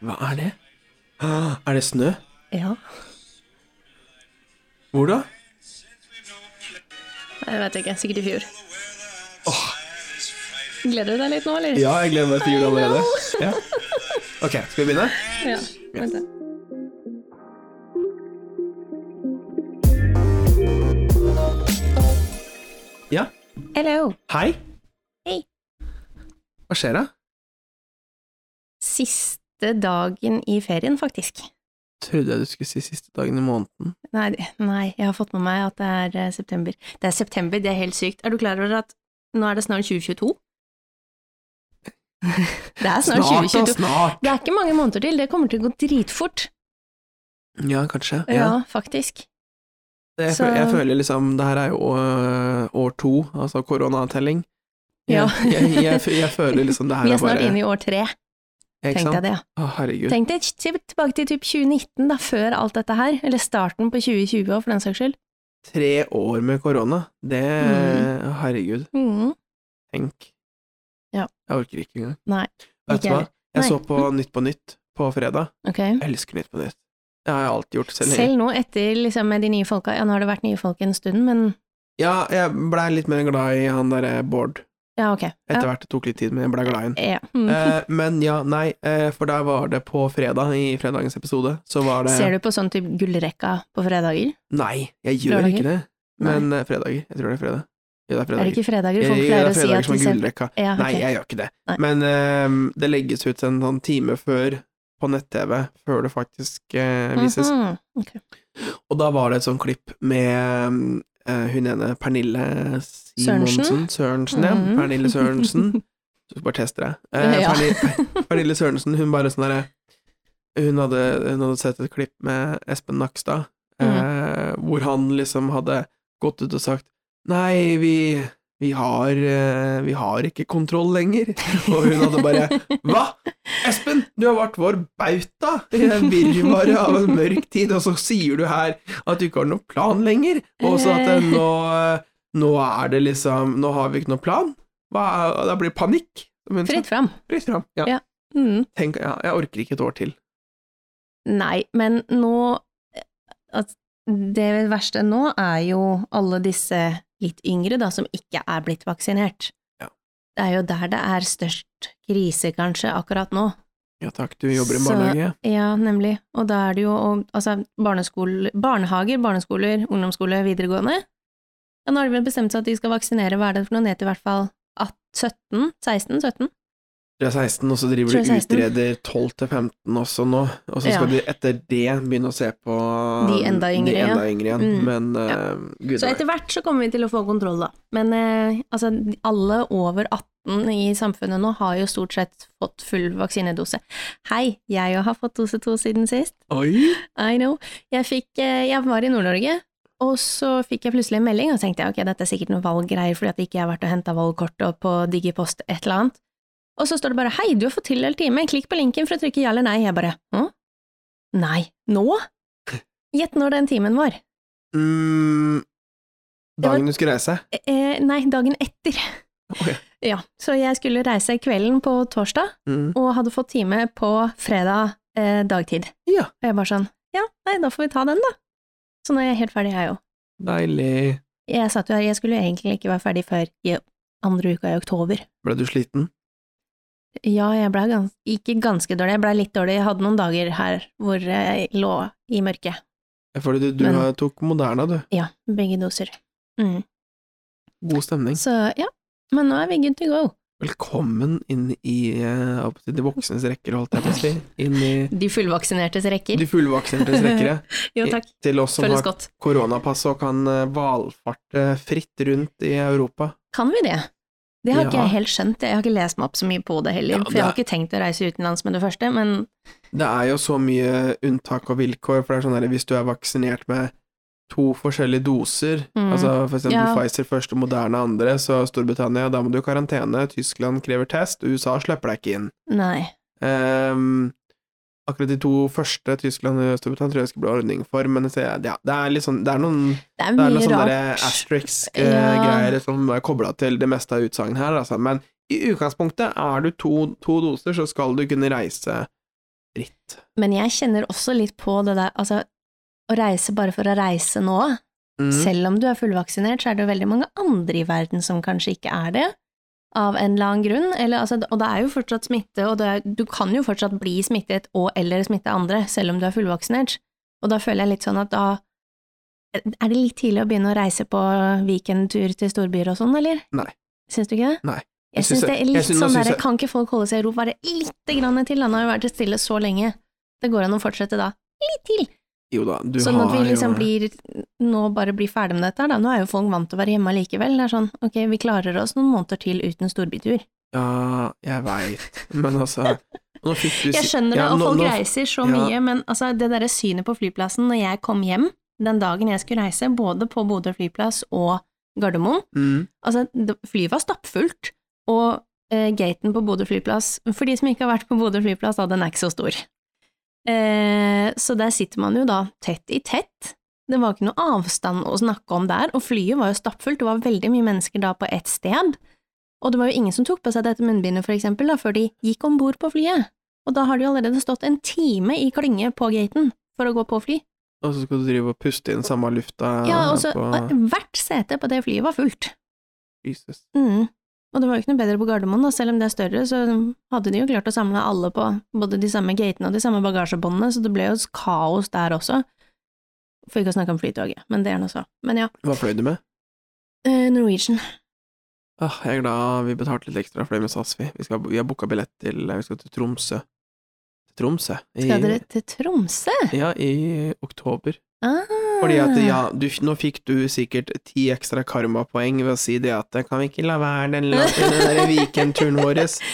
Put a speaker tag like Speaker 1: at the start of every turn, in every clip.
Speaker 1: Hva er det? Ah, Er det snø?
Speaker 2: Ja.
Speaker 1: Hvor da?
Speaker 2: Jeg vet ikke. Sikkert i fjor. Gleder du deg litt nå, eller?
Speaker 1: Ja, jeg gleder meg til jul allerede. Ja. Ok, skal vi begynne?
Speaker 2: Ja. Vent da.
Speaker 1: Ja.
Speaker 2: Hello.
Speaker 1: Hei.
Speaker 2: Hei.
Speaker 1: Hva skjer da?
Speaker 2: Siste dagen i ferien, faktisk.
Speaker 1: Trodde jeg du skulle si siste dagen i måneden.
Speaker 2: Nei, nei, jeg har fått med meg at det er eh, september. Det er september, det er helt sykt. Er du klar over at nå er det snart 2022? Det er snart
Speaker 1: Snart da,
Speaker 2: 2022.
Speaker 1: snart.
Speaker 2: Det er ikke mange måneder til, det kommer til å gå dritfort.
Speaker 1: Ja, kanskje.
Speaker 2: Ja,
Speaker 1: Ja.
Speaker 2: faktisk.
Speaker 1: Jeg,
Speaker 2: så-
Speaker 1: føler, jeg føler liksom, det her er jo øh, år to, altså koronatelling.
Speaker 2: Ja.
Speaker 1: Jeg, jeg, jeg, jeg føler liksom det her er
Speaker 2: Vi er snart
Speaker 1: bare
Speaker 2: inne i år tre,
Speaker 1: Ikke
Speaker 2: tenk
Speaker 1: sant?
Speaker 2: deg det. ja.
Speaker 1: Å, herregud.
Speaker 2: Tenk deg t- tilbake til typ 2019, da, før alt dette her, eller starten på 2020 også, for den saks skyld.
Speaker 1: Tre år med korona. Det
Speaker 2: Mm.
Speaker 1: Herregud.
Speaker 2: Mhm.
Speaker 1: Tenk.
Speaker 2: Ja.
Speaker 1: Jeg orker ikke engang.
Speaker 2: Nei,
Speaker 1: Vet du
Speaker 2: ikke
Speaker 1: hva?
Speaker 2: heller.
Speaker 1: Jeg
Speaker 2: Nei.
Speaker 1: så på Nytt på Nytt på fredag.
Speaker 2: Ok.
Speaker 1: Jeg elsker Nytt på Nytt. Det har jeg alltid gjort. Selv,
Speaker 2: Selv nå, etter liksom med de nye folka, ja, nå har det vært nye folk en stund, men
Speaker 1: Ja, jeg blei litt mer glad i han derre Bård.
Speaker 2: ja, ok.
Speaker 1: Etter hvert det tok litt tid, men jeg blei glad i han.
Speaker 2: Ja. Mhm.
Speaker 1: Eh, men ja, nei, eh, for der var det på fredag, i fredagens episode, så var det
Speaker 2: Ser du på sånn type gullrekka på fredager?
Speaker 1: Nei, jeg gjør
Speaker 2: Fredager?
Speaker 1: ikke det. Men eh, fredager. Jeg tror det er fredag. Ja, det er
Speaker 2: Er
Speaker 1: fredager.
Speaker 2: det ikke fredager?
Speaker 1: Jeg-
Speaker 2: Folk
Speaker 1: det
Speaker 2: pleier
Speaker 1: er
Speaker 2: å si
Speaker 1: fredager
Speaker 2: at
Speaker 1: som
Speaker 2: de
Speaker 1: er
Speaker 2: ser
Speaker 1: gullrekka.
Speaker 2: ja, ok.
Speaker 1: Nei, jeg gjør ikke det.
Speaker 2: Nei.
Speaker 1: Men eh, det legges ut en sånn time før på nett-TV, før det faktisk eh, vises.
Speaker 2: Mhm. Ok.
Speaker 1: Og da var det et sånt klipp med eh, hun ene Pernille Simonsen.
Speaker 2: Sørensen?
Speaker 1: Sørensen, ja.
Speaker 2: Mhm.
Speaker 1: Pernille Sørensen. Du skal bare teste deg. Eh,
Speaker 2: Ja.
Speaker 1: Pernille, Pernille Sørensen, hun bare sånn derre hun, hadde- hun hadde sett et klipp med Espen Nakstad,
Speaker 2: Mm.
Speaker 1: eh, hvor han liksom hadde gått ut og sagt Nei, vi, vi har eh, Vi har ikke kontroll lenger. Og hun hadde bare Hva?! Espen, du har vært vår bauta i en virvaret av en mørk tid, og så sier du her at du ikke har noen plan lenger, og så at eh, nå, nå er det liksom Nå har vi ikke noen plan. Hva er, da blir det panikk. Men så-
Speaker 2: Fritt fram.
Speaker 1: Fritt fram. Ja.
Speaker 2: Ja. Mhm.
Speaker 1: Tenk, ja, jeg orker ikke et år til.
Speaker 2: Nei, men nå eh, at Det verste nå er jo alle disse litt yngre da, som ikke er blitt vaksinert.
Speaker 1: Ja.
Speaker 2: Det er jo der det er størst krise, kanskje, akkurat nå.
Speaker 1: Ja takk, du jobber i
Speaker 2: Så-
Speaker 1: barnehage.
Speaker 2: Ja, nemlig. Og da er det jo og, altså, barneskole, barnehager, barneskoler, ungdomsskole, videregående. Ja, nå har de vel bestemt seg at de skal vaksinere, hva er det for noe, ned til i hvert fall 18, 17? 16? 17?
Speaker 1: Du er 16, og så driver
Speaker 2: Tror
Speaker 1: du
Speaker 2: jeg 16.
Speaker 1: utreder 12 til 15 også nå, og så skal du
Speaker 2: Ja.
Speaker 1: etter det begynne å se på
Speaker 2: De enda
Speaker 1: de
Speaker 2: yngre, ja.
Speaker 1: enda yngre igjen.
Speaker 2: Mm.
Speaker 1: Men eh, gud
Speaker 2: Så etter hvert så kommer vi til å få kontroll, da. Men eh, altså, alle over 18 i samfunnet nå har jo stort sett fått full vaksinedose. Hei, jeg jo har fått dose to siden sist.
Speaker 1: Oi!
Speaker 2: I know. Jeg, fikk, eh, jeg var i Nord-Norge, og så fikk jeg plutselig en melding, og tenkte jeg ok, dette er sikkert noen valggreier fordi at ikke jeg har vært og henta valgkortet på Digipost et eller annet. Og så står det bare hei, du har fått tildelt time, klikk på linken for å trykke ja eller nei. Jeg bare hm? Nei. Nå? Gjett når den timen var.
Speaker 1: Mm, dagen du skulle reise?
Speaker 2: Eh, nei, dagen etter.
Speaker 1: Ok.
Speaker 2: Ja, så jeg skulle reise kvelden på torsdag,
Speaker 1: Mm.
Speaker 2: og hadde fått time på fredag eh, dagtid.
Speaker 1: Ja.
Speaker 2: Og jeg bare sånn, ja, nei, da får vi ta den da. Så nå er jeg helt ferdig jeg òg.
Speaker 1: Deilig.
Speaker 2: Jeg satt jo her, jeg skulle jo egentlig ikke være ferdig før i andre uka i oktober.
Speaker 1: Ble du sliten?
Speaker 2: Ja, jeg ble gans ikke ganske dårlig, jeg ble litt dårlig, jeg hadde noen dager her hvor jeg lå i mørket.
Speaker 1: Jeg føler du, du
Speaker 2: Men-
Speaker 1: har- tok Moderna, du.
Speaker 2: Ja, begge doser. Mm.
Speaker 1: God stemning.
Speaker 2: Så ja, men nå er vi good to go.
Speaker 1: Velkommen inn i eh, opp til de voksnes rekker, holdt jeg på å si. Inn i
Speaker 2: De fullvaksinertes rekker.
Speaker 1: de fullvaksintes rekker, ja.
Speaker 2: Jo takk,
Speaker 1: Til oss som
Speaker 2: føles
Speaker 1: har
Speaker 2: godt.
Speaker 1: koronapass og kan eh, valfarte fritt rundt i Europa.
Speaker 2: Kan vi det? Det har ikke
Speaker 1: Ja.
Speaker 2: jeg helt skjønt, jeg har ikke lest meg opp så mye på det heller,
Speaker 1: Ja,
Speaker 2: for jeg har
Speaker 1: det-
Speaker 2: ikke tenkt å reise utenlands med det første, men
Speaker 1: Det er jo så mye unntak og vilkår, for det er sånn her hvis du er vaksinert med to forskjellige doser,
Speaker 2: Mm.
Speaker 1: altså for eksempel
Speaker 2: Ja.
Speaker 1: Pfizer først og Moderna andre, så Storbritannia, da må du i karantene, Tyskland krever test, USA slipper deg ikke inn.
Speaker 2: nei.
Speaker 1: Ehm, akkurat de to første, Tyskland og Storbritannia, tror jeg det skal bli ordning for, men det, ja, det er litt sånn, det er noen,
Speaker 2: Det
Speaker 1: det
Speaker 2: er
Speaker 1: er sånn
Speaker 2: mye
Speaker 1: noen sånne der
Speaker 2: rart. Ja.
Speaker 1: asterisk-greier som er koblet til det meste av utsagn her, altså, men i utgangspunktet er du to, to doser, så skal du kunne reise dritt.
Speaker 2: Men jeg kjenner også litt på det der Altså, å reise bare for å reise nå,
Speaker 1: Mm.
Speaker 2: selv om du er fullvaksinert, så er det jo veldig mange andre i verden som kanskje ikke er det, av en eller annen grunn. Eller, altså, og det er jo fortsatt smitte, og det er, du kan jo fortsatt bli smittet og eller smitte andre, selv om du er fullvaksinert. Og da føler jeg litt sånn at da Er det litt tidlig å begynne å reise på weekendtur til storbyer og sånn, eller?
Speaker 1: Nei.
Speaker 2: Syns du ikke det?
Speaker 1: Nei.
Speaker 2: Jeg
Speaker 1: Jeg
Speaker 2: syns
Speaker 1: syns
Speaker 2: det
Speaker 1: jeg-
Speaker 2: er
Speaker 1: jeg
Speaker 2: litt
Speaker 1: syns- nå
Speaker 2: sånn
Speaker 1: syns
Speaker 2: derre
Speaker 1: jeg-
Speaker 2: Kan ikke folk holde seg i ro bare lite grann til? Han har jo vært stille så lenge. Det går an å fortsette da. Litt til.
Speaker 1: Jo da, du
Speaker 2: sånn at
Speaker 1: har
Speaker 2: vi liksom
Speaker 1: jo
Speaker 2: blir Nå bare blir ferdig med dette her, da. Nå er jo folk vant til å være hjemme allikevel. Det er sånn ok, vi klarer oss noen måneder til uten storbytur.
Speaker 1: Ja, jeg veit, men altså Nå fikk du
Speaker 2: Jeg
Speaker 1: si-
Speaker 2: skjønner det,
Speaker 1: Ja,
Speaker 2: og
Speaker 1: nå-
Speaker 2: folk
Speaker 1: nå-
Speaker 2: reiser så
Speaker 1: ja.
Speaker 2: mye, men altså det derre synet på flyplassen når jeg kom hjem den dagen jeg skulle reise, både på Bodø flyplass og Gardermoen,
Speaker 1: Mm,
Speaker 2: Altså, det- flyet var stappfullt, og eh, gaten på Bodø flyplass For de som ikke har vært på Bodø flyplass, da, den er ikke så stor. Eh, så der sitter man jo da tett i tett. Det var ikke noe avstand å snakke om der, og flyet var jo stappfullt, det var veldig mye mennesker da på ett sted. Og det var jo ingen som tok på seg dette munnbindet, for eksempel, da, før de gikk om bord på flyet. Og da har de jo allerede stått en time i klynge på gaten for å gå på fly.
Speaker 1: og så skal du drive og puste inn samme lufta
Speaker 2: Ja, og så
Speaker 1: på
Speaker 2: hvert sete på det flyet var fullt.
Speaker 1: Jesus.
Speaker 2: Mm. Og det var jo ikke noe bedre på Gardermoen, da. selv om det er større, så hadde de jo klart å samle alle på både de samme gatene og de samme bagasjebåndene, så det ble jo kaos der også. For ikke å snakke om flytoget, men det er nå så. Men ja,
Speaker 1: Hva fløy du med?
Speaker 2: eh, Norwegian.
Speaker 1: Ah, jeg er glad vi betalte litt ekstra for det med SAS, vi. Vi, skal, vi har booka billett til eh, Vi skal til Tromsø. Til Tromsø? I,
Speaker 2: Skal dere til Tromsø?
Speaker 1: Ja, i oktober.
Speaker 2: Ah.
Speaker 1: Fordi at, ja, du, nå fikk du sikkert ti ekstra karmapoeng ved å si det at eh, kan vi ikke la være den, la- den der weekendturen vår? Ja, det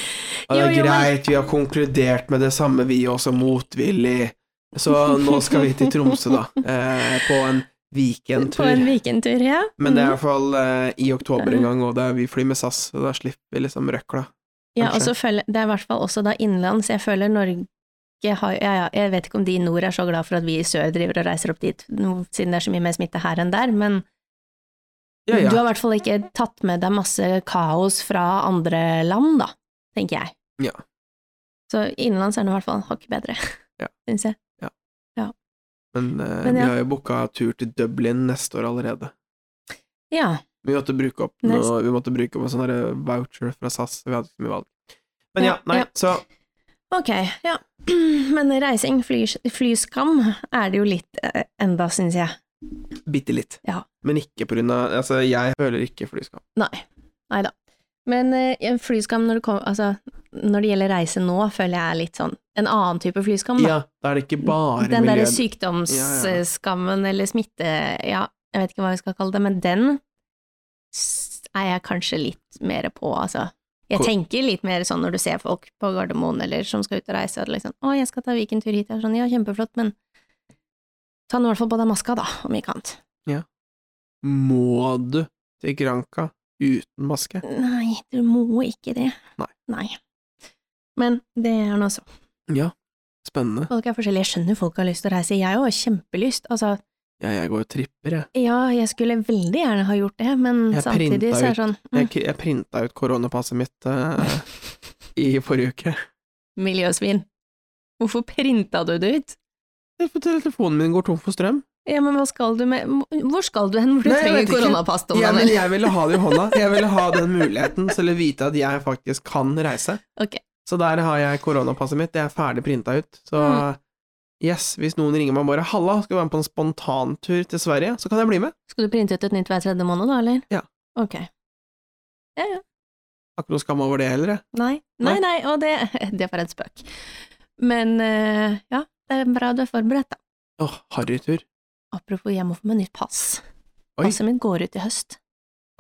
Speaker 2: Jo,
Speaker 1: er
Speaker 2: jo, men-
Speaker 1: greit, vi har konkludert med det samme, vi også, motvillig. Så nå skal vi til Tromsø, da. Eh, på en
Speaker 2: På en
Speaker 1: weekendtur.
Speaker 2: weekendtur, ja.
Speaker 1: Men det er i
Speaker 2: Mm.
Speaker 1: hvert fall eh, i oktober en gang, og det er, vi flyr med SAS, så da slipper vi liksom røkla.
Speaker 2: ja, og
Speaker 1: kanskje.
Speaker 2: så føler, det er i hvert fall også da innenlands. Jeg føler Norge har ja, ja, Jeg vet ikke om de i nord er så glad for at vi i sør driver og reiser opp dit, nå, siden det er så mye mer smitte her enn der, men
Speaker 1: Ja,
Speaker 2: Du har
Speaker 1: ja.
Speaker 2: i hvert fall ikke tatt med deg masse kaos fra andre land, da, tenker jeg.
Speaker 1: Ja.
Speaker 2: Så innenlands er det i hvert fall hakket bedre,
Speaker 1: Ja.
Speaker 2: syns jeg.
Speaker 1: Men, eh,
Speaker 2: Men ja.
Speaker 1: vi har jo booka tur til Dublin neste år allerede.
Speaker 2: Ja.
Speaker 1: Vi måtte bruke opp
Speaker 2: Nei,
Speaker 1: noe, vi måtte bruke opp en sånn der voucher fra SAS, så vi hadde ikke så mye valg. Men ja,
Speaker 2: Ja,
Speaker 1: nei,
Speaker 2: ja.
Speaker 1: så
Speaker 2: Ok, ja. Men reising, fly, flyskam, er det jo litt eh, enda, syns jeg.
Speaker 1: bitte litt.
Speaker 2: Ja.
Speaker 1: Men ikke på grunn av Altså, jeg føler ikke flyskam.
Speaker 2: Nei. Nei da. Men eh, flyskam når det, kom, altså, når det gjelder reise nå, føler jeg er litt sånn en annen type flyskam, da.
Speaker 1: Ja, da er det ikke bare
Speaker 2: Den derre
Speaker 1: miljø... Ja, ja.
Speaker 2: sykdomsskammen eller smitte... Ja, jeg vet ikke hva vi skal kalle det, men den s- er jeg kanskje litt mer på, altså. Jeg
Speaker 1: Hvor-
Speaker 2: tenker litt mer sånn når du ser folk på Gardermoen eller som skal ut og reise, at liksom 'Å, jeg skal ta Viken-tur hit', jeg er sånn 'Ja, kjempeflott, men ta nå i hvert fall på deg maska, da, om ikke annet'.
Speaker 1: Må du til Granca uten maske?
Speaker 2: Nei, du må ikke det.
Speaker 1: Nei.
Speaker 2: Men det er nå så.
Speaker 1: Ja. Spennende.
Speaker 2: Folk er forskjellige. Jeg skjønner folk har lyst til å reise. Jeg òg har kjempelyst. Altså,
Speaker 1: Ja, jeg går jo tripper, jeg.
Speaker 2: ja, jeg skulle veldig gjerne ha gjort det, men
Speaker 1: Jeg
Speaker 2: samtidig
Speaker 1: printa
Speaker 2: så er det sånn mm,
Speaker 1: Jeg, k- jeg printa ut koronapasset mitt eh, i forrige uke.
Speaker 2: «Hm, Miljøsvin. Hvorfor printa du det ut?
Speaker 1: Jeg får- Telefonen min går tom for strøm.
Speaker 2: Ja, men hva skal du med Hvor skal du hen hvor du
Speaker 1: Nei, jeg
Speaker 2: trenger
Speaker 1: vet ikke.
Speaker 2: koronapass, Tom
Speaker 1: Ja, men
Speaker 2: Daniel?
Speaker 1: jeg ville ha det i hånda. Jeg ville ha den muligheten til å vite at jeg faktisk kan reise.
Speaker 2: Ok.
Speaker 1: Så der har jeg koronapasset mitt, det er ferdig printa ut. Så
Speaker 2: Mm.
Speaker 1: yes, hvis noen ringer meg og bare 'halla, skal du være med på en spontantur til Sverige', så kan jeg bli med.
Speaker 2: Skal du printe ut et nytt hver tredje måned, da, eller?
Speaker 1: Ja.
Speaker 2: Ok. Ja, ja.
Speaker 1: Har ikke noe skam over det heller, jeg.
Speaker 2: Nei. Nei, nei, og det Det var en spøk. Men eh, ja, det er bra du er forberedt, da.
Speaker 1: Åh, harrytur.
Speaker 2: Apropos, jeg må få meg nytt pass.
Speaker 1: Oi.
Speaker 2: Passet mitt går ut i høst.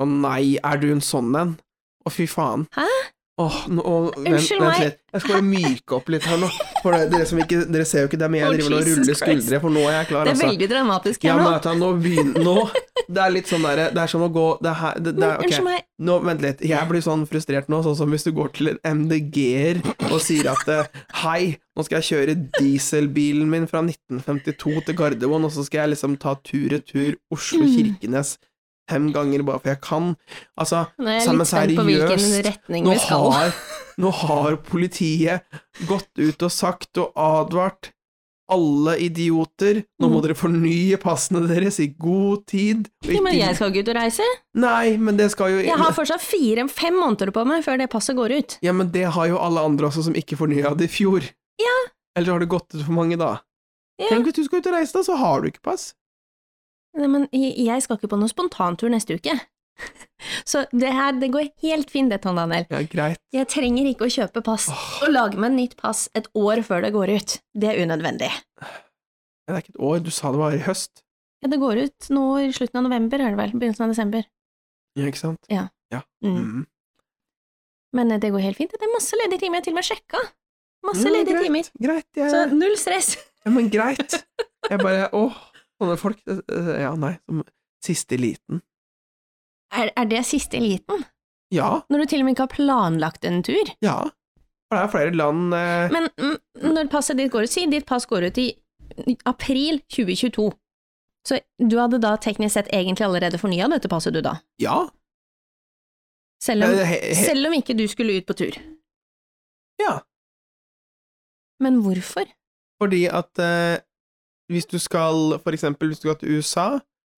Speaker 1: Å nei, er du en sånn en? Å fy faen.
Speaker 2: Hæ?
Speaker 1: Åh, nå, å, vent,
Speaker 2: Unnskyld
Speaker 1: vent
Speaker 2: meg.
Speaker 1: litt. Jeg skal bare myke opp litt her nå. For det, dere, som ikke, dere ser jo ikke det, men jeg
Speaker 2: Å,
Speaker 1: driver nå og
Speaker 2: Jesus
Speaker 1: ruller
Speaker 2: Christ.
Speaker 1: skuldre, for nå er jeg klar,
Speaker 2: Det er
Speaker 1: altså.
Speaker 2: veldig dramatisk
Speaker 1: Ja,
Speaker 2: her
Speaker 1: men
Speaker 2: nå.
Speaker 1: vet du, nå begynner nå. Det er litt sånn derre Det er som å gå Det er her det, det,
Speaker 2: Men
Speaker 1: er- ok.
Speaker 2: Mm, unnskyld meg,
Speaker 1: Nå, vent litt. Jeg blir sånn frustrert nå, sånn som hvis du går til en MDG-er og sier at eh, hei, nå skal jeg kjøre dieselbilen min fra 1952 til Gardermoen, og så skal jeg liksom ta tur-retur
Speaker 2: Mm.
Speaker 1: Oslo-Kirkenes fem ganger bare for jeg kan. Altså,
Speaker 2: Nå er jeg litt
Speaker 1: Men
Speaker 2: spent på hvilken
Speaker 1: seriøst,
Speaker 2: retning
Speaker 1: nå
Speaker 2: vi skal.
Speaker 1: har, nå har politiet gått ut og sagt og advart alle idioter, nå må
Speaker 2: Mm.
Speaker 1: dere fornye passene deres i god tid. og
Speaker 2: Ja, men
Speaker 1: ikke-
Speaker 2: jeg skal ikke ut og reise.
Speaker 1: Nei, men det skal jo
Speaker 2: Jeg har fortsatt fire-fem måneder på meg før det passet går ut.
Speaker 1: Ja, men det har jo alle andre også som ikke fornya det i fjor.
Speaker 2: Ja.
Speaker 1: Eller har det gått ut for mange da?
Speaker 2: Ja.
Speaker 1: Tenk hvis du skal ut og reise da, så har du ikke pass.
Speaker 2: Nei, men jeg jeg skal ikke på noen spontantur neste uke. Så det her, det går helt fint det, Tom Daniel.
Speaker 1: Ja, greit.
Speaker 2: Jeg trenger ikke å kjøpe pass
Speaker 1: Åh,
Speaker 2: og lage meg nytt pass et år før det går ut. Det er unødvendig.
Speaker 1: det er ikke et år, du sa det var i høst.
Speaker 2: Ja, det går ut nå i slutten av november, er det vel? Begynnelsen av desember.
Speaker 1: Ja, ikke sant?
Speaker 2: Mm.
Speaker 1: Mm.
Speaker 2: Men eh, det går helt fint. Det er masse ledige timer. Jeg har til og med sjekka. Masse
Speaker 1: Ja,
Speaker 2: ledige
Speaker 1: greit.
Speaker 2: timer.
Speaker 1: Greit, jeg,
Speaker 2: Så null stress.
Speaker 1: ja, men greit. Jeg bare, åh, sånne folk, eh, eh, ja, nei, som siste liten.
Speaker 2: Er, er det siste eliten?
Speaker 1: Ja,
Speaker 2: Når du til og med ikke har planlagt en tur?
Speaker 1: ja. For det er flere land, eh,
Speaker 2: Men mm, når passet ditt går ut, si ditt pass går ut i april 2022. Så du hadde da teknisk sett egentlig allerede fornya dette passet du da?
Speaker 1: ja.
Speaker 2: Selv om,
Speaker 1: Eh, he- he-
Speaker 2: selv om ikke du skulle ut på tur?
Speaker 1: Ja.
Speaker 2: Men hvorfor?
Speaker 1: Fordi at eh, hvis du skal, for eksempel, hvis du skal til USA,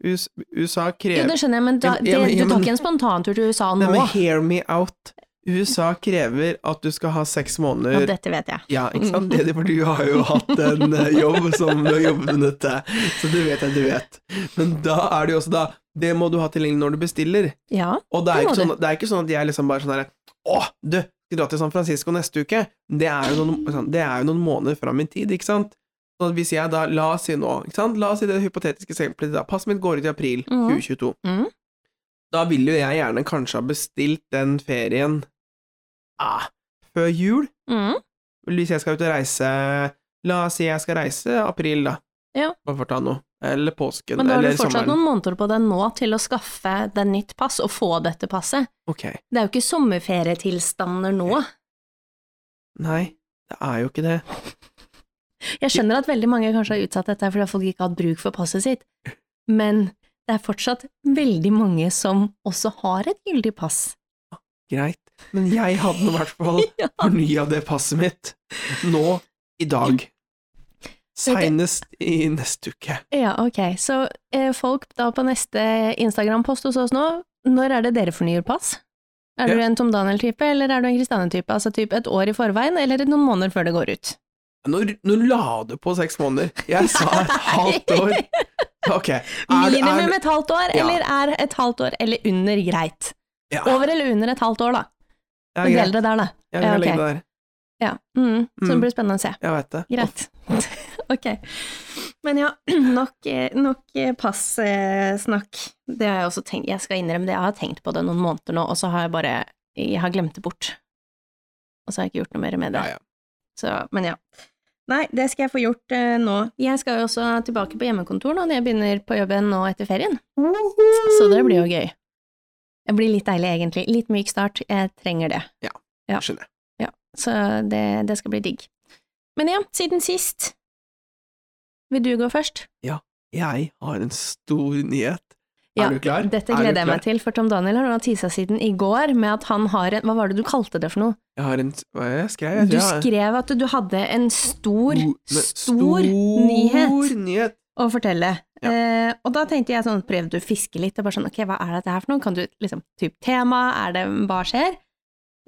Speaker 1: US, USA
Speaker 2: Jo,
Speaker 1: krever...
Speaker 2: det skjønner jeg, men da,
Speaker 1: Ja, men-
Speaker 2: det,
Speaker 1: ja, men-
Speaker 2: du
Speaker 1: ja,
Speaker 2: tar
Speaker 1: men-
Speaker 2: ikke en spontantur til USA nå?
Speaker 1: Nei, men hear me out. USA krever at du skal ha seks
Speaker 2: Ja,
Speaker 1: måneder
Speaker 2: dette vet jeg.
Speaker 1: Ja, ikke sant? Det, er det, for du har jo hatt en eh, jobb som du har jobbet med dette, så det vet jeg du vet. Men da er det jo også da Det må du ha tilgjengelig når du bestiller.
Speaker 2: Ja,
Speaker 1: Og det er,
Speaker 2: Det må
Speaker 1: ikke sånn, det er ikke sånn at jeg liksom bare sånn herre Å, du, skal dra til San Francisco neste uke? Det er jo noen, sånn, det er jo noen måneder fram i tid, ikke sant? Så hvis jeg da, la oss si nå, ikke sant? La oss si det hypotetiske eksempelet da. Passet mitt går ut i april
Speaker 2: Mhm.
Speaker 1: 2022.
Speaker 2: Mhm.
Speaker 1: Da vil jo jeg gjerne kanskje ha bestilt den ferien ah, før jul.
Speaker 2: mm.
Speaker 1: Hvis jeg skal ut og reise La oss si jeg skal reise april, da.
Speaker 2: Ja.
Speaker 1: Bare for å ta noe. Eller påsken,
Speaker 2: men da har
Speaker 1: eller
Speaker 2: du fortsatt
Speaker 1: sommeren.
Speaker 2: noen måneder på deg nå til å skaffe deg nytt pass og få dette passet.
Speaker 1: Ok.
Speaker 2: Det er jo ikke sommerferietilstander nå.
Speaker 1: Nei, det er jo ikke det.
Speaker 2: Jeg skjønner at veldig mange kanskje har utsatt dette fordi folk ikke har hatt bruk for passet sitt, men det er fortsatt veldig mange som også har et gyldig pass.
Speaker 1: Greit. Men jeg hadde nå i hvert fall
Speaker 2: Ja.
Speaker 1: fornya det passet mitt nå i dag. Seinest i neste uke.
Speaker 2: Ja, ok. Så eh, folk da på neste Instagram-post hos oss nå, når er det dere fornyer pass? Er du
Speaker 1: Ja.
Speaker 2: en Tom Daniel-type, eller er du en Kristiane-type? Altså typ et år i forveien, eller noen måneder før det går ut?
Speaker 1: Nå, nå la du på seks måneder. Jeg sa et halvt år. Ok. Er, det- er,
Speaker 2: Minimum
Speaker 1: det-
Speaker 2: et halvt år,
Speaker 1: Ja.
Speaker 2: eller er et halvt år eller under greit?
Speaker 1: ja,
Speaker 2: Over eller under et halvt år, da.
Speaker 1: det er
Speaker 2: Del
Speaker 1: greit.
Speaker 2: dere der, da.
Speaker 1: Jeg
Speaker 2: Ja,
Speaker 1: kan
Speaker 2: ok.
Speaker 1: legge det der.
Speaker 2: Ja. Mm. Så det
Speaker 1: Mm.
Speaker 2: blir spennende å se.
Speaker 1: Jeg veit det.
Speaker 2: Greit. ok. Men ja, nok, eh, nok eh, passsnakk. Det har jeg også tenkt, jeg skal innrømme det, jeg har tenkt på det noen måneder nå, og så har jeg bare, jeg har glemt det bort. Og så har jeg ikke gjort noe mer med det.
Speaker 1: Ja, ja.
Speaker 2: Så, men ja. Nei, det skal jeg få gjort eh, nå. Jeg skal jo også tilbake på hjemmekontor nå når jeg begynner på jobben nå etter ferien, så det blir jo gøy. Det blir litt deilig egentlig. Litt myk start, jeg trenger det. ja.
Speaker 1: Skjønner jeg.
Speaker 2: Så det, det skal bli digg. Men ja, siden sist. Vil du gå først?
Speaker 1: Jeg har en stor nyhet.
Speaker 2: Ja,
Speaker 1: er du klar?
Speaker 2: Dette
Speaker 1: Er du
Speaker 2: gleder jeg meg
Speaker 1: klar?
Speaker 2: til, for Tom Daniel har nå tisa siden i går med at han har en Hva var det du kalte det for noe?
Speaker 1: Jeg har en Hva er det jeg skrev jeg?
Speaker 2: Du
Speaker 1: tror jeg har-
Speaker 2: skrev at du hadde en stor,
Speaker 1: Stor-
Speaker 2: stor nyhet
Speaker 1: Stor nyhet.
Speaker 2: å fortelle.
Speaker 1: Ja.
Speaker 2: Eh, og da tenkte jeg sånn, prøvde du å fiske litt, og bare sånn, ok, hva er dette her for noe? Kan du liksom, typ tema, er det, hva skjer?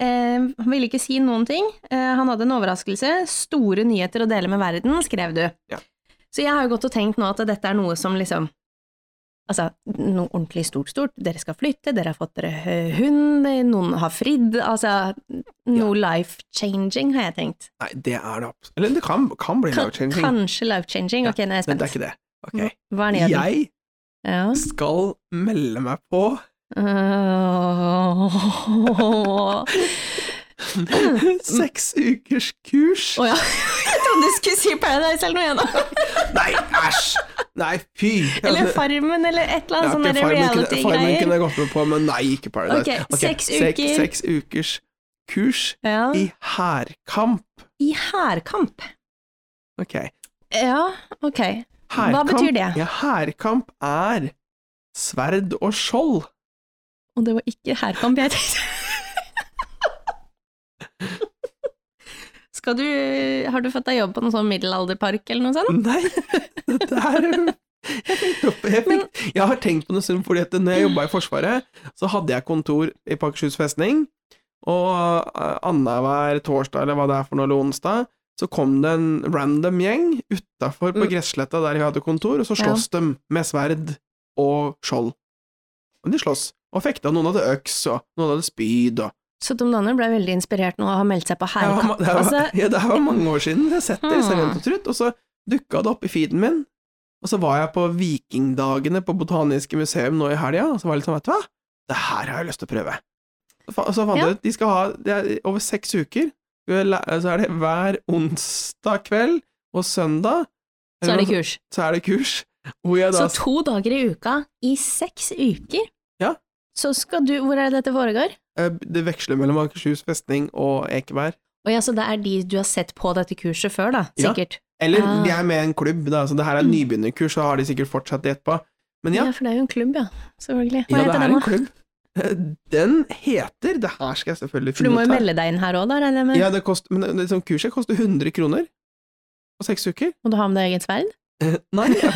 Speaker 2: Eh, han ville ikke si noen ting. Eh, han hadde en overraskelse. Store nyheter å dele med verden, skrev du.
Speaker 1: Ja.
Speaker 2: Så jeg har jo gått og tenkt nå at dette er noe som liksom, altså, noe ordentlig stort, stort. Dere skal flytte, dere har fått dere eh, hund, noen har fridd, altså, noe life-changing har jeg tenkt.
Speaker 1: Nei, det er det absolutt Eller det kan, kan bli
Speaker 2: Kan,
Speaker 1: life-changing,
Speaker 2: kanskje life-changing?
Speaker 1: Ja,
Speaker 2: Ok, nå er jeg
Speaker 1: men det er
Speaker 2: spent.
Speaker 1: ikke det. Ok.
Speaker 2: Hva er nyheten?
Speaker 1: Jeg
Speaker 2: Ja.
Speaker 1: skal melde meg på
Speaker 2: Åh.
Speaker 1: seks ukers kurs.
Speaker 2: Å ja. Jeg trodde du skulle si Paradise eller noe igjen.
Speaker 1: Nei, æsj! Nei, fy!
Speaker 2: Eller Farmen eller et
Speaker 1: Ja,
Speaker 2: eller annet sånn
Speaker 1: ikke
Speaker 2: der
Speaker 1: Farmen kunne- Farmen
Speaker 2: reality-greier.
Speaker 1: kunne jeg gått med på, men nei, ikke Paradise.
Speaker 2: Ok,
Speaker 1: Ok,
Speaker 2: seks
Speaker 1: sek-
Speaker 2: uker.
Speaker 1: Seks ukers kurs
Speaker 2: Ja.
Speaker 1: i hærkamp.
Speaker 2: I hærkamp.
Speaker 1: Ok.
Speaker 2: Ja, ok. Hva betyr det?
Speaker 1: Ja, hærkamp er sverd og skjold.
Speaker 2: Og det var ikke herkamp jeg tenkte. Skal du, har du fått deg jobb på noen sånn middelalderpark eller noe sånt?
Speaker 1: Nei, dette er jeg, tenkte opp- jeg, fikk, jeg har tenkt på det en stund, fordi at når jeg jobba i Forsvaret, så hadde jeg kontor i Pakershus festning, og eh, annenhver torsdag, eller hva det er for noe, eller onsdag, så kom det en random gjeng utafor på
Speaker 2: Mm.
Speaker 1: gressletta der jeg hadde kontor, og så
Speaker 2: Ja.
Speaker 1: sloss de med sverd og skjold. Men de sloss, og fekta. Noen hadde øks, og noen hadde spyd, og
Speaker 2: Så Tom Danner ble veldig inspirert nå og har meldt seg på
Speaker 1: det var,
Speaker 2: hærkamp.
Speaker 1: det, var,
Speaker 2: Altså,
Speaker 1: ja, det her var mange år siden. Jeg har sett det
Speaker 2: Hmm.
Speaker 1: seriøst og trutt. Og så dukka det opp i feeden min. Og så var jeg på Vikingdagene på Botaniske museum nå i helga, og så var jeg litt sånn, vet du hva, det her har jeg lyst til å prøve. Og fa- Og så fant
Speaker 2: Ja.
Speaker 1: jeg ut de skal ha det er Over seks uker skal vi læ- så er det hver onsdag kveld og søndag
Speaker 2: så er det
Speaker 1: eller noe
Speaker 2: kurs.
Speaker 1: sånt, så er det kurs. Hvor jeg da
Speaker 2: Så to dager i uka i seks uker?
Speaker 1: Ja.
Speaker 2: Så skal du Hvor er det dette foregår?
Speaker 1: eh, Det veksler mellom Akershus festning og Ekeberg.
Speaker 2: Å ja, så det er de du har sett på dette kurset før, da?
Speaker 1: Ja.
Speaker 2: Sikkert.
Speaker 1: Eller
Speaker 2: Ah.
Speaker 1: de er med i en klubb, da, så det her er
Speaker 2: Mm.
Speaker 1: nybegynnerkurs, så har de sikkert fortsatt det etterpå. Men ja,
Speaker 2: Ja. for det er jo en klubb, ja. Selvfølgelig. Hva
Speaker 1: Ja, det
Speaker 2: heter
Speaker 1: er
Speaker 2: den,
Speaker 1: en
Speaker 2: da?
Speaker 1: klubb. Eh, Den heter Det her skal jeg selvfølgelig
Speaker 2: For du må
Speaker 1: finne
Speaker 2: jo
Speaker 1: ut her.
Speaker 2: melde deg inn her òg, da, regner jeg med?
Speaker 1: Ja, det kost, men det, sånn kurset koster 100 kroner på seks uker.
Speaker 2: Må du ha med deg eget sverd?
Speaker 1: Eh, Nei, ja.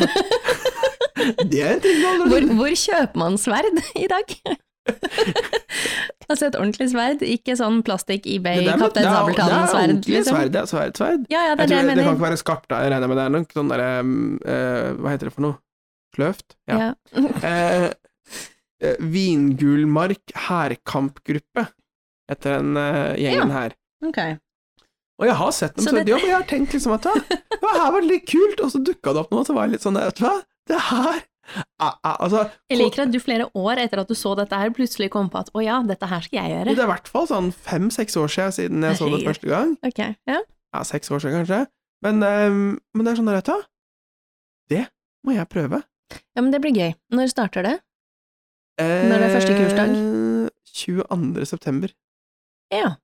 Speaker 1: det er en ting du aldri
Speaker 2: Hvor, hvor kjøper man sverd i dag? altså et ordentlig sverd, ikke sånn plastikk
Speaker 1: Det der med-
Speaker 2: eBay-kaptein
Speaker 1: det er- Det er
Speaker 2: Sabeltann-sverd,
Speaker 1: ordentlig
Speaker 2: liksom.
Speaker 1: sverd, det er sverd, sverd.
Speaker 2: Ja,
Speaker 1: Jeg
Speaker 2: ja, det er det
Speaker 1: tror det,
Speaker 2: jeg
Speaker 1: det kan
Speaker 2: mener.
Speaker 1: ikke være skarpt, da, jeg regner med det er nok sånn derre mm, eh, Hva heter det for noe? Kløft? Ja.
Speaker 2: Ja.
Speaker 1: Eh, eh, Vingulmark hærkampgruppe heter den eh, gjengen her.
Speaker 2: Ok.
Speaker 1: Og jeg har sett dem
Speaker 2: Så
Speaker 1: så
Speaker 2: dette-
Speaker 1: jobb, og jeg har tenkt liksom at «Hva, det her var litt kult, og så dukka det opp noe, og så var jeg litt sånn vet du hva, det her ah, ah, Altså,
Speaker 2: Jeg liker at du flere år etter at du så dette her, plutselig kom på at å ja, dette her skal jeg
Speaker 1: det
Speaker 2: gjøre.
Speaker 1: er i hvert fall sånn fem-seks år siden, siden jeg så det
Speaker 2: Herregud.
Speaker 1: første gang.
Speaker 2: Ok, ja.
Speaker 1: Ja, seks år siden kanskje. Men, ehm, men det er sånn der, vet du hva, det må jeg prøve.
Speaker 2: ja, men det blir gøy. Når starter det?
Speaker 1: Eh,
Speaker 2: Når er første kursdag?
Speaker 1: 22. Eh, september.
Speaker 2: Ja.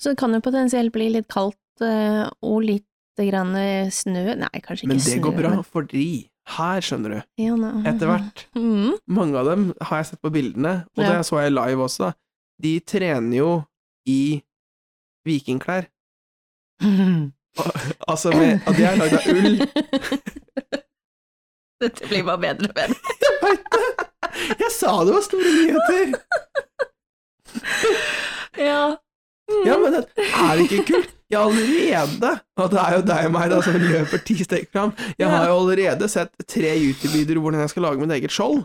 Speaker 2: Så det kan jo potensielt bli litt kaldt eh, og litt grann eh, snø. Nei, kanskje ikke
Speaker 1: Men
Speaker 2: snø.
Speaker 1: det går bra,
Speaker 2: men-
Speaker 1: fordi her, skjønner du,
Speaker 2: Ja, nei.
Speaker 1: etter hvert
Speaker 2: Mm.
Speaker 1: Mange av dem har jeg sett på bildene, og
Speaker 2: Ja.
Speaker 1: det så jeg live også. da. De trener jo i vikingklær. Altså, med, og det er lagd av ull.
Speaker 2: Dette blir bare bedre og bedre.
Speaker 1: Jeg vet det! Jeg sa det var store nyheter!
Speaker 2: Ja.
Speaker 1: Ja, men det er det ikke kult? Jeg har allerede, og det er jo deg og meg da, som løper ti steg fram, jeg har jo allerede sett tre YouTube-videoer hvordan jeg skal lage mitt eget skjold.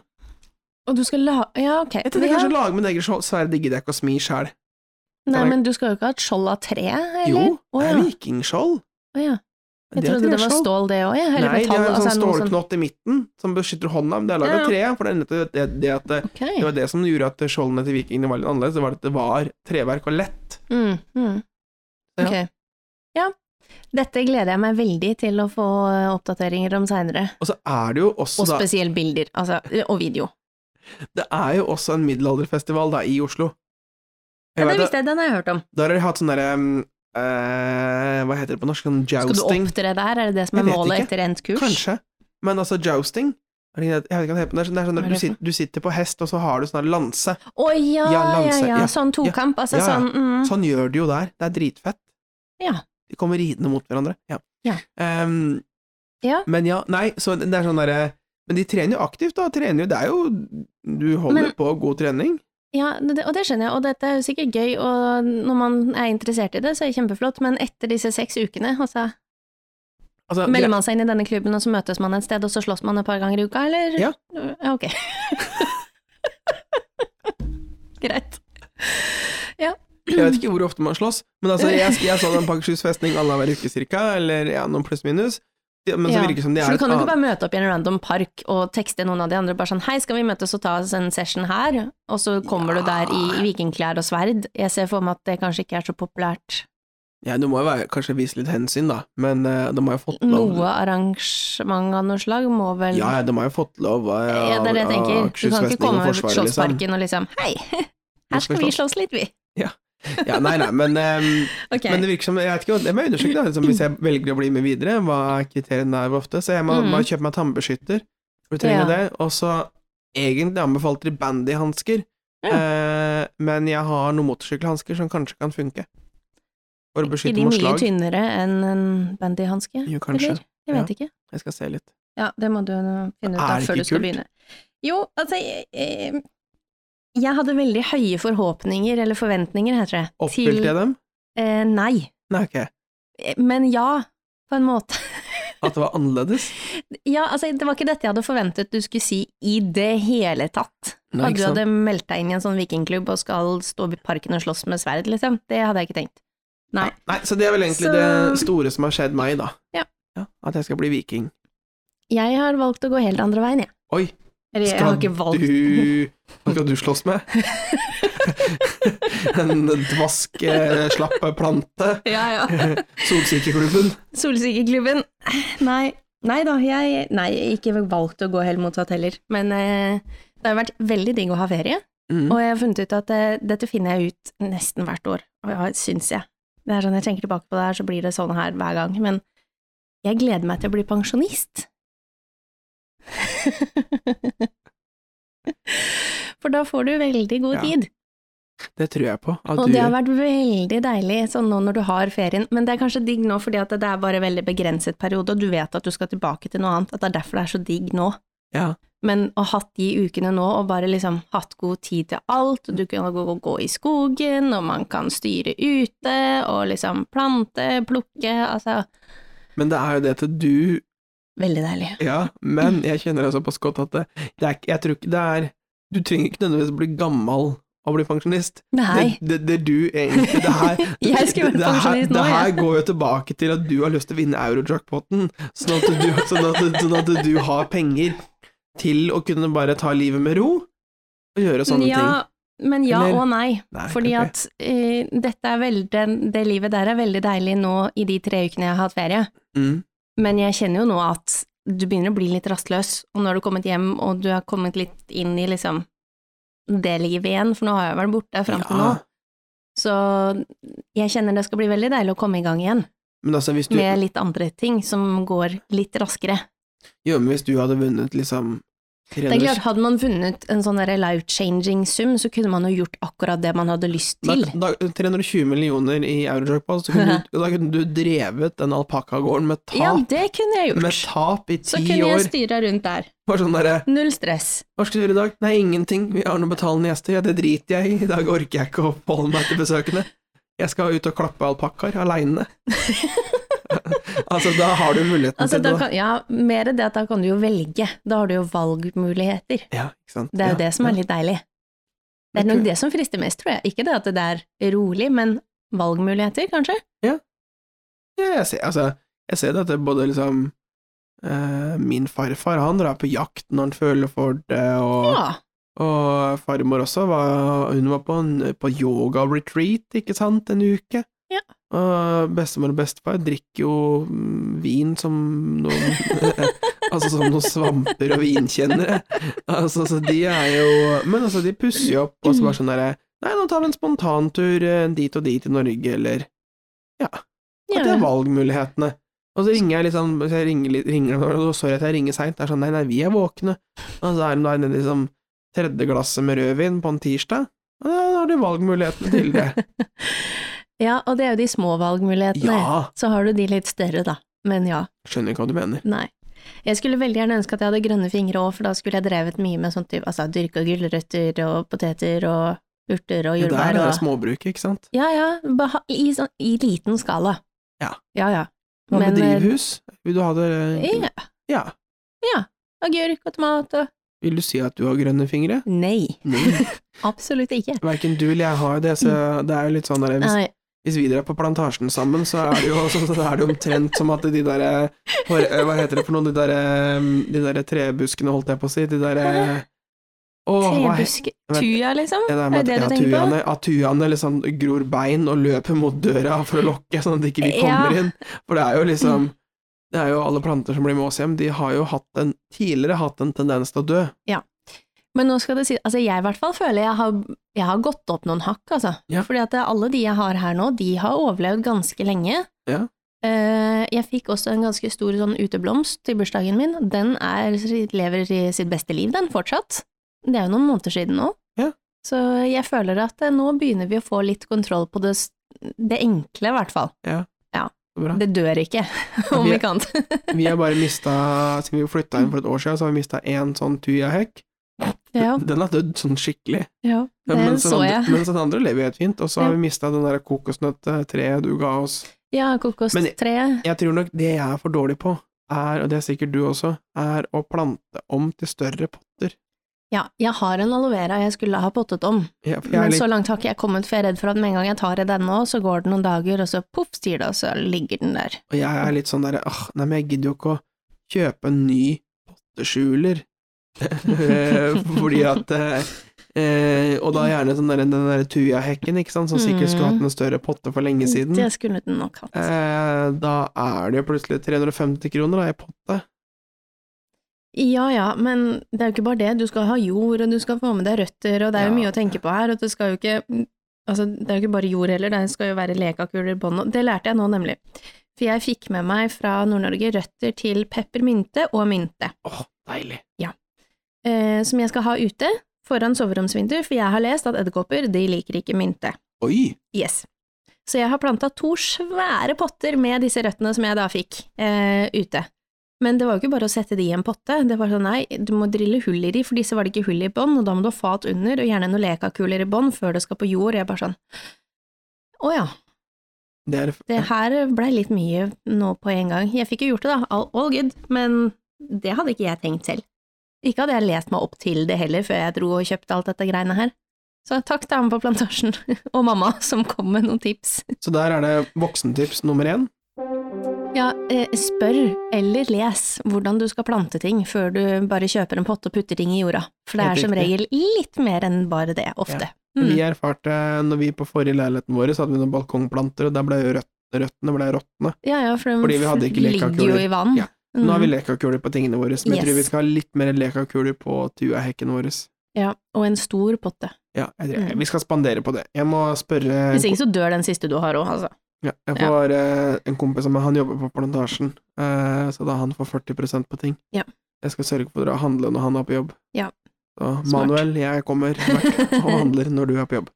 Speaker 2: Og du skal la... Ja, ok.
Speaker 1: Jeg tenkte
Speaker 2: Ja.
Speaker 1: kanskje å lage mitt eget skjold, så er det digger jeg ikke å smi sjæl.
Speaker 2: Nei, men du skal jo ikke ha et skjold av tre, eller?
Speaker 1: Jo,
Speaker 2: Å,
Speaker 1: det
Speaker 2: ja.
Speaker 1: er vikingskjold.
Speaker 2: Å, ja. Jeg
Speaker 1: Det er
Speaker 2: trodde det var
Speaker 1: treskjold.
Speaker 2: stål det òg, jeg. Eller
Speaker 1: Nei, de
Speaker 2: metall.
Speaker 1: har en
Speaker 2: altså,
Speaker 1: sånn
Speaker 2: er det noe
Speaker 1: stålknott i midten som beskytter hånda, men det er laget
Speaker 2: Ja, ja.
Speaker 1: av tre. For det, er nettopp det, det, at det,
Speaker 2: Ok.
Speaker 1: det var det som gjorde at skjoldene til vikingene var litt annerledes, det var at det var treverk og lett.
Speaker 2: Mm, mm.
Speaker 1: Ja.
Speaker 2: Ok. Ja. Dette gleder jeg meg veldig til å få eh, oppdateringer om seinere.
Speaker 1: Og så er det jo også,
Speaker 2: Og
Speaker 1: da,
Speaker 2: spesielt bilder, altså, og video.
Speaker 1: det er jo også en middelalderfestival da, i Oslo.
Speaker 2: Ja,
Speaker 1: Jeg
Speaker 2: det
Speaker 1: vet,
Speaker 2: visste jeg, den har jeg hørt om.
Speaker 1: da, der har de hatt sånn derre mm, eh, Hva heter det på norsk? Sånn
Speaker 2: Skal du
Speaker 1: jousting?
Speaker 2: opptre der, er det det som
Speaker 1: Jeg
Speaker 2: er
Speaker 1: vet
Speaker 2: målet
Speaker 1: ikke.
Speaker 2: etter endt kurs?
Speaker 1: Kanskje. Men altså, jousting er det ikke det- Jeg vet ikke hva det heter, men det er sånn- det er sånn
Speaker 2: Hva er
Speaker 1: at du,
Speaker 2: det for
Speaker 1: sit, du sitter på hest, og så har du sånn der lanse.
Speaker 2: Å ja, ja,
Speaker 1: Ja,
Speaker 2: ja,
Speaker 1: lanse, ja,
Speaker 2: sånn tokamp, altså
Speaker 1: ja, ja.
Speaker 2: sånn mm.
Speaker 1: Sånn gjør de jo der. Det er dritfett.
Speaker 2: Ja.
Speaker 1: De kommer ridende mot hverandre. Ja.
Speaker 2: Ja.
Speaker 1: Ehm,
Speaker 2: Ja.
Speaker 1: Men ja, nei, så det er sånn derre Men de trener jo aktivt, da. Trener jo, det er jo Du holder
Speaker 2: Men-
Speaker 1: på god trening.
Speaker 2: Ja, det, og det skjønner jeg, og dette er jo sikkert gøy, og når man er interessert i det, så er det kjempeflott, men etter disse seks ukene, altså,
Speaker 1: Altså, det-
Speaker 2: melder man seg inn i denne klubben, og så møtes man et sted, og så slåss man et par ganger i uka, eller?
Speaker 1: Ja.
Speaker 2: Ja, ok. Greit.
Speaker 1: Jeg vet ikke hvor ofte man slåss, men altså, jeg, jeg så den på Akershus festning annenhver uke cirka, eller ja, noen pluss-minus. Ja, Men så
Speaker 2: Ja,
Speaker 1: virker det som de er
Speaker 2: For du
Speaker 1: et
Speaker 2: kan jo ikke
Speaker 1: annet-
Speaker 2: bare møte opp i en random park og tekste noen av de andre bare sånn hei, skal vi møtes og ta oss en session her, og så kommer du der i vikingklær og sverd. Jeg ser for meg at det kanskje ikke er så populært.
Speaker 1: Ja, du må jo være, kanskje vise litt hensyn, da, men eh, de har jo fått lov
Speaker 2: Noe arrangement av noe slag må vel
Speaker 1: Ja, ja, de har jo fått lov av,
Speaker 2: Ja, det er det jeg
Speaker 1: av
Speaker 2: tenker. Du
Speaker 1: Akershus
Speaker 2: kan ikke
Speaker 1: festning og
Speaker 2: komme med
Speaker 1: Forsvaret, liksom.
Speaker 2: Slottsparken og liksom hei,
Speaker 1: Nå
Speaker 2: her skal vi
Speaker 1: slåss.
Speaker 2: slåss litt, vi.
Speaker 1: Ja, nei, nei, men, ehm,
Speaker 2: Ok.
Speaker 1: men det virker som Jeg vet ikke, det må jeg undersøke, da, liksom, hvis jeg velger å bli med videre, hva er kriteriene der ofte? Så jeg må
Speaker 2: Mm.
Speaker 1: bare kjøpe meg tannbeskytter, for du trenger
Speaker 2: Ja.
Speaker 1: det, og så egentlig anbefalt Ribandy-hansker,
Speaker 2: Ja.
Speaker 1: eh, men jeg har noen motorsykkelhansker som kanskje kan funke. For å
Speaker 2: Ikke
Speaker 1: beskytte
Speaker 2: de
Speaker 1: mot
Speaker 2: mye
Speaker 1: slag.
Speaker 2: tynnere enn en bandyhanske?
Speaker 1: Jo, kanskje.
Speaker 2: Eller? Jeg vet ikke.
Speaker 1: Jeg skal se litt.
Speaker 2: Ja, det må du nå finne ut
Speaker 1: Er
Speaker 2: av
Speaker 1: det
Speaker 2: før
Speaker 1: ikke
Speaker 2: du skal
Speaker 1: kult?
Speaker 2: begynne. Jo, altså jeg, jeg- jeg hadde veldig høye forhåpninger, eller forventninger, heter det.
Speaker 1: Oppfylte jeg dem?
Speaker 2: eh, Nei.
Speaker 1: Nei, ok.
Speaker 2: Eh, Men ja, på en måte.
Speaker 1: At det var annerledes?
Speaker 2: Ja, altså det var ikke dette jeg hadde forventet du skulle si i det hele tatt.
Speaker 1: Nei,
Speaker 2: At
Speaker 1: ikke
Speaker 2: du
Speaker 1: sant?
Speaker 2: hadde meldt deg inn i en sånn vikingklubb og skal stå i parken og slåss med sverd, liksom. Det hadde jeg ikke tenkt. Nei.
Speaker 1: Nei, så det er vel egentlig
Speaker 2: Så-
Speaker 1: det store som har skjedd meg, da.
Speaker 2: Ja.
Speaker 1: At jeg skal bli viking.
Speaker 2: Jeg har valgt å gå helt andre veien, jeg.
Speaker 1: Oi,
Speaker 2: Eller jeg har
Speaker 1: skal
Speaker 2: ikke valgt
Speaker 1: du Hva skal du slåss med? en dvask, eh, slapp plante?
Speaker 2: Ja, ja.
Speaker 1: Solsikkeklubben?
Speaker 2: Solsikkeklubben. Nei. Nei da, jeg Nei, ikke valgt å gå helt motsatt heller. Men eh, det har vært veldig digg å ha ferie,
Speaker 1: Mm.
Speaker 2: og jeg har funnet ut at eh, dette finner jeg ut nesten hvert år, og ja, syns jeg. Det er sånn jeg tenker tilbake på det her, så blir det sånn her hver gang. Men jeg gleder meg til å bli pensjonist. For da får du veldig god
Speaker 1: Ja.
Speaker 2: tid.
Speaker 1: Det tror jeg på. At
Speaker 2: Og
Speaker 1: du
Speaker 2: det har vært veldig deilig sånn nå når du har ferien, men det er kanskje digg nå fordi at det er bare veldig begrenset periode, og du vet at du skal tilbake til noe annet, at det er derfor det er så digg nå.
Speaker 1: Ja.
Speaker 2: Men å ha hatt de ukene nå, og bare liksom hatt god tid til alt, og du kan gå, gå, gå i skogen, og man kan styre ute, og liksom plante, plukke, altså
Speaker 1: Men det er jo det til du
Speaker 2: Veldig deilig.
Speaker 1: Ja, men jeg kjenner det såpass godt at det, det er, ikke- jeg tror ikke det er Du trenger ikke nødvendigvis å bli gammel og bli pensjonist.
Speaker 2: Nei.
Speaker 1: Det, det, det er du egentlig det her,
Speaker 2: Jeg skulle vært
Speaker 1: det her-
Speaker 2: pensjonist nå,
Speaker 1: Det her
Speaker 2: jeg.
Speaker 1: går jo tilbake til at du har lyst til å vinne eurojackpoten, sånn at, du, sånn, at, sånn at du har penger til å kunne bare ta livet med ro og gjøre sånne
Speaker 2: ja, Men ja
Speaker 1: Eller-
Speaker 2: og nei.
Speaker 1: Nei, ok.
Speaker 2: fordi at eh, dette er veldig, den- det livet der er veldig deilig nå i de tre ukene jeg har hatt ferie.
Speaker 1: ting. Mm.
Speaker 2: Men jeg kjenner jo nå at du begynner å bli litt rastløs, og nå har du kommet hjem, og du har kommet litt inn i liksom det livet igjen, for nå har jeg vært borte fram til
Speaker 1: Ja,
Speaker 2: nå. Så jeg kjenner det skal bli veldig deilig å komme i gang igjen,
Speaker 1: Men altså, hvis du,
Speaker 2: med litt andre ting som går litt raskere.
Speaker 1: jo, men hvis du hadde vunnet liksom
Speaker 2: Det er klart, hadde man vunnet en sånn derre life-changing sum, så kunne man jo gjort akkurat det man hadde lyst til.
Speaker 1: Da, da, 320 millioner i eurojackpot, så kunne du, da kunne du drevet den alpakkagården med tap.
Speaker 2: Ja, det kunne jeg
Speaker 1: med
Speaker 2: gjort.
Speaker 1: tap i
Speaker 2: Så
Speaker 1: ti
Speaker 2: kunne jeg
Speaker 1: år.
Speaker 2: styra rundt der.
Speaker 1: Bare sånn derre
Speaker 2: Null stress.
Speaker 1: 'Hva skal du gjøre i dag?' 'Nei, ingenting. Vi har noen betalende gjester.' Ja, 'Det driter jeg i. I dag orker jeg ikke å oppholde meg til besøkende. Jeg skal ut og klappe alpakkaer aleine.' altså, da har du muligheten
Speaker 2: Altså, da
Speaker 1: til det.
Speaker 2: kan, ja, mer det at da kan du jo velge. Da har du jo valgmuligheter.
Speaker 1: Ja, ikke sant?
Speaker 2: Det er jo
Speaker 1: ja,
Speaker 2: det som er
Speaker 1: ja.
Speaker 2: litt deilig. Det er nok det som frister mest, tror jeg. Ikke det at det er rolig, men valgmuligheter, kanskje?
Speaker 1: Ja, jeg ser, altså, jeg ser det at det er både liksom eh, Min farfar, han drar på jakt når han føler for det, og
Speaker 2: Ja.
Speaker 1: Og farmor også, var, hun var på, en- på yoga-retreat, ikke sant, en uke.
Speaker 2: Ja.
Speaker 1: Og bestemor og bestefar drikker jo mm, vin som noen Altså som noen svamper og vinkjennere. Altså, så de er jo Men altså, de pusser jo opp, og så bare sånn derre Nei, nå tar vi en spontantur eh, dit og dit i Norge, eller At det
Speaker 2: Ja.
Speaker 1: er valgmulighetene. Og så ringer jeg liksom så jeg ringer, litt- ringer, dem, og Sorry at jeg ringer seint. Det er sånn Nei, nei, vi er våkne. Og så er de da nede i liksom tredje glasset med rødvin på en tirsdag. Og da har de valgmulighetene til det.
Speaker 2: ja, og det er jo de små valgmulighetene.
Speaker 1: Ja!
Speaker 2: Så har du de litt større, da. Men ja,
Speaker 1: Skjønner ikke hva du mener.
Speaker 2: nei. Jeg skulle veldig gjerne ønske at jeg hadde grønne fingre òg, for da skulle jeg drevet mye med sånn type altså, dyrka gulrøtter og poteter og urter og
Speaker 1: Det der er
Speaker 2: jordbær
Speaker 1: det
Speaker 2: og
Speaker 1: småbruket, ikke sant?
Speaker 2: Ja, ja, beha- i, sånn, i liten skala.
Speaker 1: Ja.
Speaker 2: Ja, ja.
Speaker 1: Hva med
Speaker 2: Men, eh,
Speaker 1: drivhus? Vil du ha det
Speaker 2: Ja.
Speaker 1: Ja.
Speaker 2: Agurk og tomat og
Speaker 1: Vil du si at du har grønne fingre?
Speaker 2: Nei,
Speaker 1: Nei.
Speaker 2: absolutt ikke.
Speaker 1: Verken du eller jeg har jo det, så det er jo litt sånn der hvis,
Speaker 2: Nei.
Speaker 1: hvis vi drar på plantasjen sammen, så er det jo, så, så er det jo omtrent som at de der hår- eh, Hva heter det for noe? De der, eh, de der trebuskene, holdt jeg på å si. De der eh, åh, hva he-
Speaker 2: Trebusk Tuja, liksom?
Speaker 1: Ja, det er med
Speaker 2: det
Speaker 1: at-
Speaker 2: du
Speaker 1: ja,
Speaker 2: tenker på?
Speaker 1: tujaene, at tujaene liksom gror bein og løper mot døra for å lokke, sånn at ikke vi kommer
Speaker 2: Ja. Mm.
Speaker 1: inn. For det er jo liksom Det er jo alle planter som blir med oss hjem, de har jo hatt en, tidligere hatt en tendens til å dø.
Speaker 2: Men nå skal det si Altså, jeg i hvert fall føler jeg har, jeg har gått opp noen hakk, altså.
Speaker 1: Ja.
Speaker 2: Fordi at alle de jeg har her nå, de har overlevd ganske lenge.
Speaker 1: Ja.
Speaker 2: Eh, jeg fikk også en ganske stor sånn uteblomst til bursdagen min. Den er, lever i sitt beste liv, den, fortsatt. Det er jo noen måneder siden nå.
Speaker 1: Ja.
Speaker 2: Så jeg føler at eh, nå begynner vi å få litt kontroll på det, s- det enkle, i hvert fall.
Speaker 1: Så bra.
Speaker 2: Det dør ikke, om
Speaker 1: vi-
Speaker 2: ikke annet.
Speaker 1: Vi har bare mista Siden vi flytta inn for et år siden, så har vi mista én sånn tuyahekk.
Speaker 2: ja,
Speaker 1: Den har dødd sånn skikkelig.
Speaker 2: ja,
Speaker 1: Ja,
Speaker 2: det
Speaker 1: mens, den
Speaker 2: så
Speaker 1: andre,
Speaker 2: jeg.
Speaker 1: mens den andre lever jo helt fint. Og så har
Speaker 2: Ja.
Speaker 1: vi mista den der kokosnøttetreet du ga oss.
Speaker 2: Ja,
Speaker 1: Men-
Speaker 2: kokostreet.
Speaker 1: Jeg tror nok det jeg er for dårlig på, er, og det er sikkert du også, er å plante om til større potter.
Speaker 2: Ja, jeg har en aloe vera jeg skulle ha pottet om,
Speaker 1: Jeg, for jeg er
Speaker 2: men
Speaker 1: litt,
Speaker 2: så langt har ikke jeg kommet, for jeg er redd for at med en gang jeg tar i den nå, så går det noen dager, og så poff, sier det, og så ligger den der.
Speaker 1: og jeg er litt sånn derre Åh, nei, men jeg gidder jo ikke å kjøpe en ny potteskjuler. Eh, Fordi at eh, eh, Og da gjerne sånn der, den der tujahekken, ikke sant, som sikkert skulle
Speaker 2: Mm.
Speaker 1: hatt en større potte for lenge siden.
Speaker 2: Det skulle den nok hatt.
Speaker 1: Eh, da er det jo plutselig 350 kroner da, i potte.
Speaker 2: Ja ja, men det er jo ikke bare det. Du skal ha jord, og du skal få med deg røtter, og det er jo
Speaker 1: Ja.
Speaker 2: mye å tenke på her. Og det skal jo ikke Altså, det er jo ikke bare jord heller, det skal jo være lekakuler i bånn. og Det lærte jeg nå, nemlig. For jeg fikk med meg fra Nord-Norge røtter til peppermynte og mynte,
Speaker 1: Åh, deilig.
Speaker 2: eh, som jeg skal ha ute foran soveromsvinduet, for jeg har lest at edderkopper, de liker ikke mynte.
Speaker 1: Oi!
Speaker 2: Yes. Så jeg har planta to svære potter med disse røttene som jeg da fikk, eh, ute. Men det var jo ikke bare å sette de i en potte. Det var sånn nei, du må drille hull i de, for disse var det ikke hull i bånn, og da må du ha fat under, og gjerne noen lekakuler i bånn før det skal på jord. Jeg bare sånn Å ja.
Speaker 1: Det er,
Speaker 2: Det her blei litt mye nå på en gang. Jeg fikk jo gjort det, da. All, all good. Men det hadde ikke jeg tenkt selv. Ikke hadde jeg lest meg opp til det heller før jeg dro og kjøpte alt dette greiene her. Så takk til han på plantasjen, og mamma, som kom med noen tips.
Speaker 1: Så der er det voksentips nummer én.
Speaker 2: Ja, eh, spør eller les hvordan du skal plante ting før du bare kjøper en potte og putter ting i jorda. For det
Speaker 1: Helt
Speaker 2: er som
Speaker 1: riktig.
Speaker 2: regel litt mer enn bare det, ofte.
Speaker 1: Vi
Speaker 2: Mm.
Speaker 1: erfarte eh, når vi på forrige leiligheten vår, så hadde vi noen balkongplanter, og der ble røtt, røttene ble råtne.
Speaker 2: Ja, ja, for
Speaker 1: Fordi vi hadde
Speaker 2: de
Speaker 1: ikke
Speaker 2: ligger jo
Speaker 1: lekakuler.
Speaker 2: i vann.
Speaker 1: Ja. Nå har vi
Speaker 2: Mm.
Speaker 1: lekakuler på tingene våre, men jeg
Speaker 2: Yes.
Speaker 1: tror vi skal ha litt mer lekakuler på tuahekken vår.
Speaker 2: ja, og en stor potte.
Speaker 1: Ja, jeg tror,
Speaker 2: Mm.
Speaker 1: Vi skal spandere på det. Jeg må spørre
Speaker 2: Hvis ikke så dør den siste du har òg, altså.
Speaker 1: ja, Jeg får eh, en kompis av meg, han jobber på plantasjen, eh, så da han får 40 på ting.
Speaker 2: Ja.
Speaker 1: Jeg skal sørge for å dra og handle når han er på jobb.
Speaker 2: Ja.
Speaker 1: Så
Speaker 2: Smart.
Speaker 1: Manuel, jeg kommer hvert og handler når du er på jobb.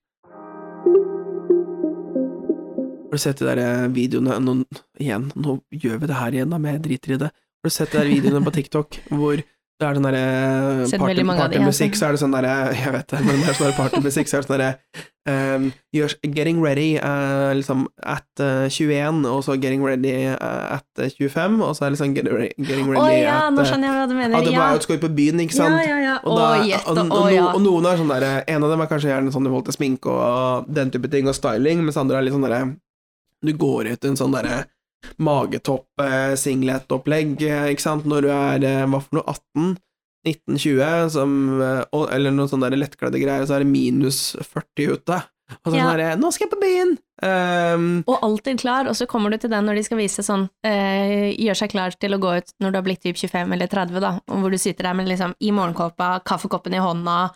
Speaker 1: Har du sett de der eh, videoene nå, igjen, nå gjør vi det her igjen, da, men jeg driter i det. Har du sett de der videoene på TikTok hvor det er den derre
Speaker 2: Sett
Speaker 1: party,
Speaker 2: veldig mange av de, ja,
Speaker 1: partymusikk, så er det sånn derre Jeg vet det, men det er sånn der partymusikk, så er det sånn derre ehm, gjør- Getting ready eh, liksom at eh, 21, og så getting ready eh, at eh, 25, og så er det liksom getting ready, getting
Speaker 2: Å
Speaker 1: ready
Speaker 2: ja,
Speaker 1: at
Speaker 2: nå
Speaker 1: eh,
Speaker 2: skjønner jeg hva du mener.
Speaker 1: ja, det
Speaker 2: ja.
Speaker 1: var jo skal ut på byen, ikke
Speaker 2: ja,
Speaker 1: sant?
Speaker 2: ja, ja.
Speaker 1: Og,
Speaker 2: Å,
Speaker 1: da-
Speaker 2: gjett
Speaker 1: og,
Speaker 2: og å
Speaker 1: og,
Speaker 2: ja.
Speaker 1: og noen er sånn der En av dem er kanskje gjerne sånn i forhold til sminke og den type ting, og styling, mens andre er litt sånn derre Du går ut i en sånn derre magetopp, eh, singlet-opplegg, eh, ikke sant, når du er eh, hva for noe, 18, 19-20, som eh, og, Eller noen sånne der lettkledde greier, så er det minus 40 ute. Og så er det
Speaker 2: Ja.
Speaker 1: sånn derre Nå skal jeg på byen! Ehm,
Speaker 2: Og alltid klar, og så kommer du til den når de skal vise sånn eh, Gjør seg klar til å gå ut når du har blitt typ 25 eller 30, da, og hvor du sitter der med liksom i morgenkåpa, kaffekoppen i hånda,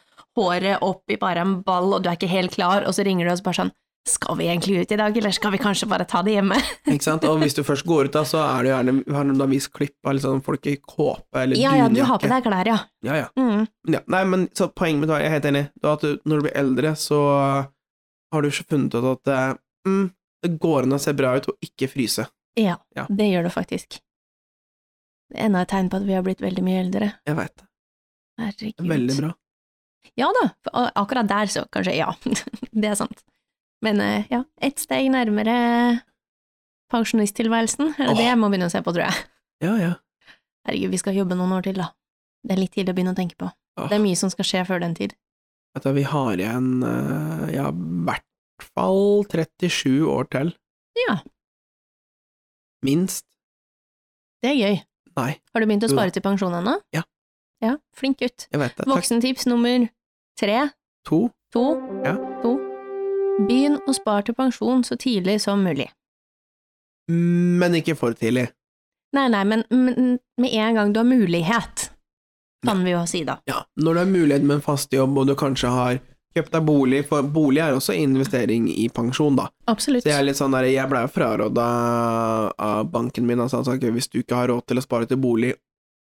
Speaker 2: håret opp i bare en ball, og du er ikke helt klar, og så ringer du oss bare sånn Skal vi egentlig ut i dag, eller skal vi kanskje bare ta det hjemme?
Speaker 1: Ikke sant? Og hvis du først går ut, da, så er det jo gjerne har de da vist klipp av litt sånn folk i kåpe eller
Speaker 2: Ja, ja, du har på
Speaker 1: dunjakke.
Speaker 2: deg klær, ja.
Speaker 1: Ja, ja.
Speaker 2: Mm.
Speaker 1: ja. Nei, men så poenget mitt var, jeg er helt enig, det var at du, når du blir eldre, så har du funnet ut at eh, mm, det går an å se bra ut og ikke fryse.
Speaker 2: Ja,
Speaker 1: Ja.
Speaker 2: det gjør du faktisk. Det er Enda et tegn på at vi har blitt veldig mye eldre.
Speaker 1: Jeg veit det.
Speaker 2: Herregud.
Speaker 1: Veldig bra.
Speaker 2: Ja da, for a- akkurat der så kanskje ja, det er sant. Men eh, ja, ett steg nærmere pensjonisttilværelsen, er det det
Speaker 1: Åh.
Speaker 2: jeg må begynne å se på, tror jeg.
Speaker 1: Ja, ja.
Speaker 2: Herregud, vi skal jobbe noen år til, da. Det er litt tidlig å begynne å tenke på.
Speaker 1: Åh,
Speaker 2: Det er mye som skal skje før den tid.
Speaker 1: Vet du, vi har igjen eh, ja, i hvert fall 37 år til.
Speaker 2: Ja.
Speaker 1: Minst.
Speaker 2: Det er gøy.
Speaker 1: Nei,
Speaker 2: Har du begynt å
Speaker 1: Jo da.
Speaker 2: spare til pensjon ennå?
Speaker 1: Ja.
Speaker 2: Ja, flink gutt.
Speaker 1: jeg vet det. Takk.
Speaker 2: Voksentips nummer tre,
Speaker 1: To.
Speaker 2: to,
Speaker 1: Ja.
Speaker 2: to. Begynn å spare til pensjon så tidlig som mulig.
Speaker 1: Men ikke for tidlig.
Speaker 2: Nei, nei, men, men med en gang du har mulighet, kan vi jo si da.
Speaker 1: Ja, når du har mulighet med en fast jobb, og du kanskje har kjøpt deg bolig, for bolig er også investering i pensjon, da.
Speaker 2: Absolutt.
Speaker 1: Så jeg er litt sånn der, jeg ble jo fraråda av banken min, altså, at ok, hvis du ikke har råd til å spare til bolig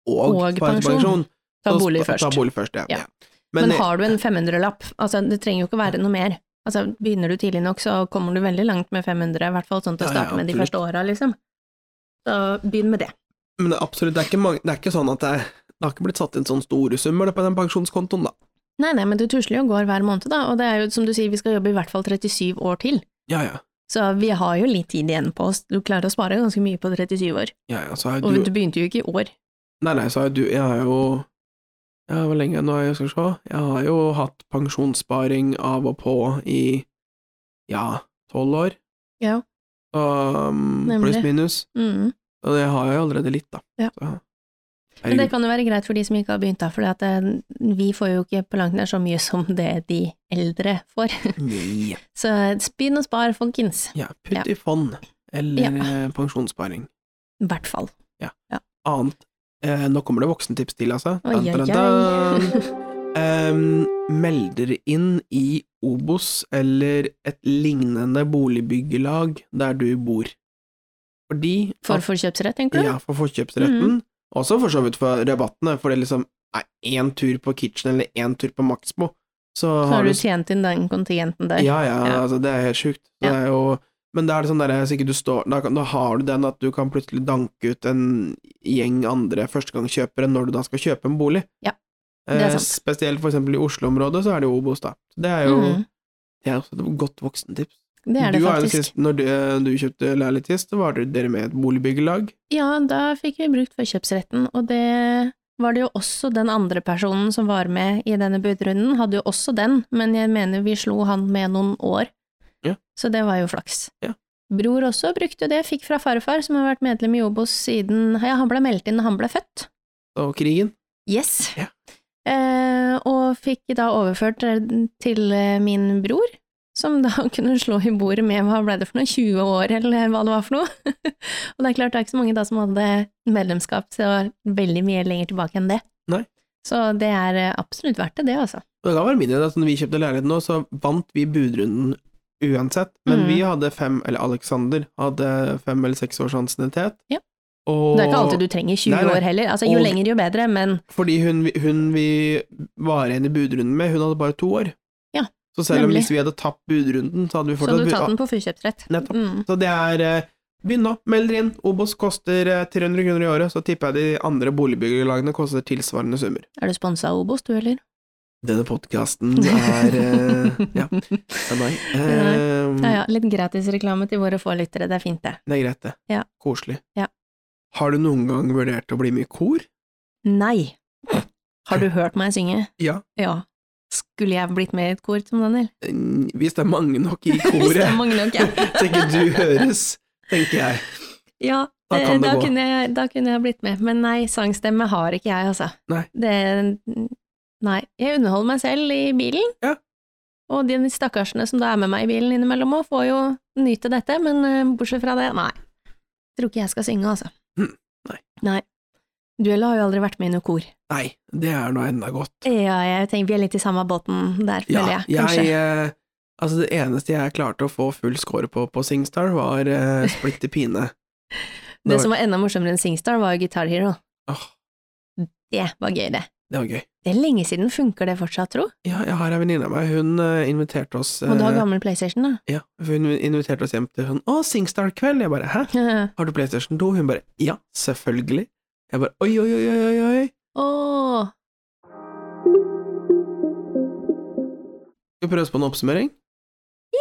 Speaker 1: og,
Speaker 2: Og
Speaker 1: spare til
Speaker 2: pensjon,
Speaker 1: pensjon,
Speaker 2: Ta
Speaker 1: så
Speaker 2: bolig
Speaker 1: spa-
Speaker 2: først.
Speaker 1: Ta bolig først, ja.
Speaker 2: Ja.
Speaker 1: ja.
Speaker 2: Men,
Speaker 1: jeg-
Speaker 2: har du en 500-lapp, altså det trenger jo ikke være noe mer. Altså Begynner du tidlig nok, så kommer du veldig langt med 500, i hvert fall sånn til å
Speaker 1: Ja, ja,
Speaker 2: starte med de
Speaker 1: absolutt.
Speaker 2: første åra, liksom. Så begynn med det.
Speaker 1: men det er absolutt, det er, ikke mange, det er ikke sånn at det, er- det har ikke blitt satt inn sånne store summer da, på den pensjonskontoen, da.
Speaker 2: Nei, nei, men det tusler jo og går hver måned, da, og det er jo som du sier, vi skal jobbe i hvert fall 37 år til.
Speaker 1: Ja, ja.
Speaker 2: Så vi har jo litt tid igjen på oss, du klarer å spare ganske mye på 37 år,
Speaker 1: ja, ja så har
Speaker 2: og
Speaker 1: jo du,
Speaker 2: du begynte jo ikke i år.
Speaker 1: nei, nei, så har jo du, jeg har jo ja, hvor lenge nå, jeg skal se, jeg har jo hatt pensjonssparing av og på i, ja, tolv år,
Speaker 2: Ja.
Speaker 1: um,
Speaker 2: Nemlig.
Speaker 1: pluss minus,
Speaker 2: Mm.
Speaker 1: og jeg har jo allerede litt da.
Speaker 2: Ja.
Speaker 1: Så,
Speaker 2: Men det
Speaker 1: herregud.
Speaker 2: kan jo være greit for de som ikke har begynt, da, for vi får jo ikke på langt nær så mye som det de eldre får.
Speaker 1: Nei.
Speaker 2: Så eh, begynn å spare, folkens.
Speaker 1: Ja, putt
Speaker 2: Ja.
Speaker 1: i fond, eller eh, pensjonssparing.
Speaker 2: I hvert fall.
Speaker 1: Annet. Eh, nå kommer det voksentips til, altså.
Speaker 2: Oi, oi,
Speaker 1: Dan, dan, dan.
Speaker 2: oi.
Speaker 1: Ehm, meld dere inn i Obos eller et lignende boligbyggelag der du bor. Fordi
Speaker 2: For Mm.
Speaker 1: at-
Speaker 2: forkjøpsrett, tenker du?
Speaker 1: Ja, for forkjøpsretten. Også for så vidt for rabattene, for det liksom er én tur på Kitchen eller én tur på Maxbo, så,
Speaker 2: Så
Speaker 1: har
Speaker 2: har
Speaker 1: du
Speaker 2: du tjent inn den kontingenten der.
Speaker 1: Ja, ja,
Speaker 2: Ja.
Speaker 1: altså det er helt sjukt. Det
Speaker 2: Ja.
Speaker 1: er jo, men da er det sånn der, hvis ikke du står, da, kan- da har du den at du kan plutselig danke ut en gjeng andre førstegangskjøpere når du da skal kjøpe en bolig.
Speaker 2: Ja, det er sant.
Speaker 1: Eh, spesielt for eksempel i Oslo-området så er det jo Obos, da. Så det er jo
Speaker 2: Mm,
Speaker 1: det er også et godt voksentips.
Speaker 2: det er det
Speaker 1: du har jo
Speaker 2: faktisk.
Speaker 1: sist, når du, eh, du kjøpte leilighet sist, så var dere med i et boligbyggelag.
Speaker 2: Ja, da fikk vi brukt forkjøpsretten, og det var det jo også den andre personen som var med i denne budrunden, hadde jo også den, men jeg mener vi slo han med noen år.
Speaker 1: Ja.
Speaker 2: Så det var jo flaks.
Speaker 1: Ja.
Speaker 2: Bror også brukte det, fikk fra farfar, som har vært medlem i Obos siden ja, han ble meldt inn da han ble født.
Speaker 1: Og krigen.
Speaker 2: Yes.
Speaker 1: Ja.
Speaker 2: Eh, og fikk da overført den til eh, min bror, som da kunne slå i bordet med hva ble det for noe, 20 år eller hva det var for noe. og det er klart det er ikke så mange da som hadde medlemskap, så det var veldig mye lenger tilbake enn det.
Speaker 1: Nei.
Speaker 2: Så det er eh, absolutt verdt det, det altså.
Speaker 1: Og da var det min idé at når vi kjøpte leilighet nå, så vant vi budrunden uansett. Men
Speaker 2: Mm.
Speaker 1: vi hadde fem, eller Alexander hadde fem eller seks års ansiennitet.
Speaker 2: Ja.
Speaker 1: Og
Speaker 2: Det er ikke alltid du trenger 20
Speaker 1: Nei, nei.
Speaker 2: år heller, altså jo
Speaker 1: Og-
Speaker 2: lenger jo bedre, men
Speaker 1: fordi hun, vi- hun vi var igjen i budrunden med, hun hadde bare to år.
Speaker 2: Ja,
Speaker 1: så selv om
Speaker 2: nemlig.
Speaker 1: hvis vi hadde tapt budrunden, så hadde vi
Speaker 2: så
Speaker 1: fortsatt
Speaker 2: du
Speaker 1: bud-
Speaker 2: tatt den på forkjøpsrett.
Speaker 1: Nettopp.
Speaker 2: Mm.
Speaker 1: Så det er eh, Begynn nå, meld dere inn. Obos koster eh, 300 kroner i året, så tipper jeg de andre boligbyggelagene koster tilsvarende summer.
Speaker 2: Er du sponsa av Obos, du, eller?
Speaker 1: Denne podkasten er eh, Ja, det er meg. Eh,
Speaker 2: Ja, ja, litt gratis reklame til våre få lyttere, det er fint det.
Speaker 1: Det er greit, det.
Speaker 2: Ja.
Speaker 1: Koselig.
Speaker 2: Ja.
Speaker 1: Har du noen gang vurdert å bli med i kor?
Speaker 2: Nei. Har du hørt meg synge?
Speaker 1: Ja.
Speaker 2: Ja. Skulle jeg blitt med i et kor som Daniel?
Speaker 1: Mm, Hvis det er mange nok i
Speaker 2: Hvis det er
Speaker 1: koret,
Speaker 2: mange nok, ja.
Speaker 1: så ikke du høres, tenker jeg.
Speaker 2: ja
Speaker 1: Da
Speaker 2: eh,
Speaker 1: kan det
Speaker 2: da,
Speaker 1: gå.
Speaker 2: kunne jeg, da kunne jeg blitt med, men nei, sangstemme har ikke jeg, altså.
Speaker 1: Nei.
Speaker 2: Det, nei. Jeg underholder meg selv i bilen,
Speaker 1: Ja.
Speaker 2: og de stakkarsene som da er med meg i bilen innimellom òg, får jo nyte dette, men eh, bortsett fra det, nei. Tror ikke jeg skal synge, altså.
Speaker 1: Mm, nei.
Speaker 2: Nei. Du heller har jo aldri vært med i noe kor.
Speaker 1: Nei, det er nå enda godt.
Speaker 2: Ja, jeg tenker vi er litt i samme båten der, føler
Speaker 1: Ja,
Speaker 2: jeg, kanskje.
Speaker 1: jeg eh, Altså, det eneste jeg klarte å få full score på på Singstar, var eh, Splitter pine.
Speaker 2: Det som var enda morsommere enn Singstar, var jo Guitar Hero.
Speaker 1: Åh,
Speaker 2: Det var gøy, det.
Speaker 1: det var gøy.
Speaker 2: Det er lenge siden. Funker det fortsatt, tro?
Speaker 1: Ja, jeg har ei venninne av meg, hun eh, inviterte oss
Speaker 2: Må du ha
Speaker 1: eh,
Speaker 2: gammel PlayStation, da?
Speaker 1: Ja, hun inviterte oss hjem til sånn 'Å, Singstar-kveld'. Jeg bare 'hæ,
Speaker 2: Åh,
Speaker 1: har du PlayStation 2?' Hun bare 'ja, selvfølgelig'. Jeg bare 'oi, oi, oi, oi, oi'. oi». Skal vi prøve oss på en oppsummering?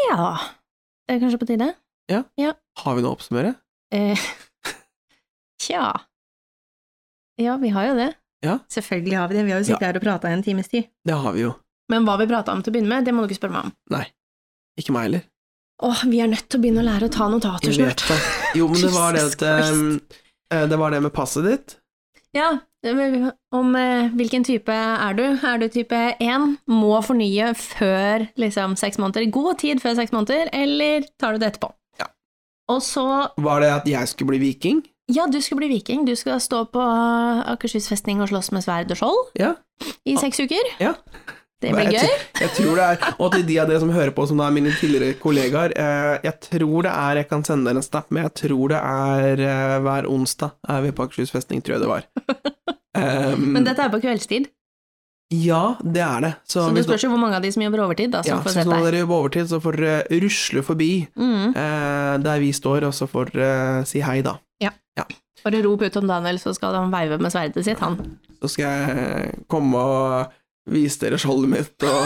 Speaker 2: ja. Det er kanskje på tide?
Speaker 1: Har vi noe å oppsummere?
Speaker 2: Eh, tja. Ja, vi har jo det.
Speaker 1: Ja.
Speaker 2: Selvfølgelig har vi det. Vi har jo sittet her og prata i en times tid.
Speaker 1: Det har vi jo.
Speaker 2: Men hva vi prata om til å begynne med, det må du ikke spørre meg om.
Speaker 1: Ikke meg heller.
Speaker 2: Åh, vi er nødt til å begynne å lære å ta notater
Speaker 1: Jeg vet
Speaker 2: snart.
Speaker 1: det. Jo, men det var det
Speaker 2: Jesus
Speaker 1: at um, eh, Det var det med passet ditt.
Speaker 2: Ja, det- men om eh, hvilken type er du? Er du type 1? Må fornye før liksom seks måneder? God tid før seks måneder, eller tar du det etterpå?
Speaker 1: Ja.
Speaker 2: Og så
Speaker 1: Var det at jeg skulle bli viking?
Speaker 2: Ja, du skal bli viking. Du skal stå på Akershus festning og slåss med sverd og skjold
Speaker 1: Ja.
Speaker 2: i seks uker.
Speaker 1: Ja.
Speaker 2: Det blir
Speaker 1: Jeg
Speaker 2: gøy.
Speaker 1: tror- Jeg tror det er Og til de av dere som hører på, som da er mine tidligere kollegaer, eh, jeg tror det er Jeg kan sende dere en snap, men jeg tror det er eh, hver onsdag er vi på Akershus festning, tror jeg det var. Um,
Speaker 2: Men dette er på kveldstid.
Speaker 1: Ja, det er det. Så,
Speaker 2: Så det
Speaker 1: hvis,
Speaker 2: spørs jo hvor mange av de som jobber overtid, da,
Speaker 1: noen-
Speaker 2: som
Speaker 1: ja, så
Speaker 2: får
Speaker 1: hvis
Speaker 2: sett
Speaker 1: noen av
Speaker 2: deg.
Speaker 1: dere jobber overtid, så får dere rusle forbi
Speaker 2: Mm.
Speaker 1: eh, der vi står, og så får dere eh, si hei, da.
Speaker 2: Bare rop ut om Daniel, så skal han veive med sverdet sitt, han.
Speaker 1: Så skal jeg komme og vise dere skjoldet mitt, og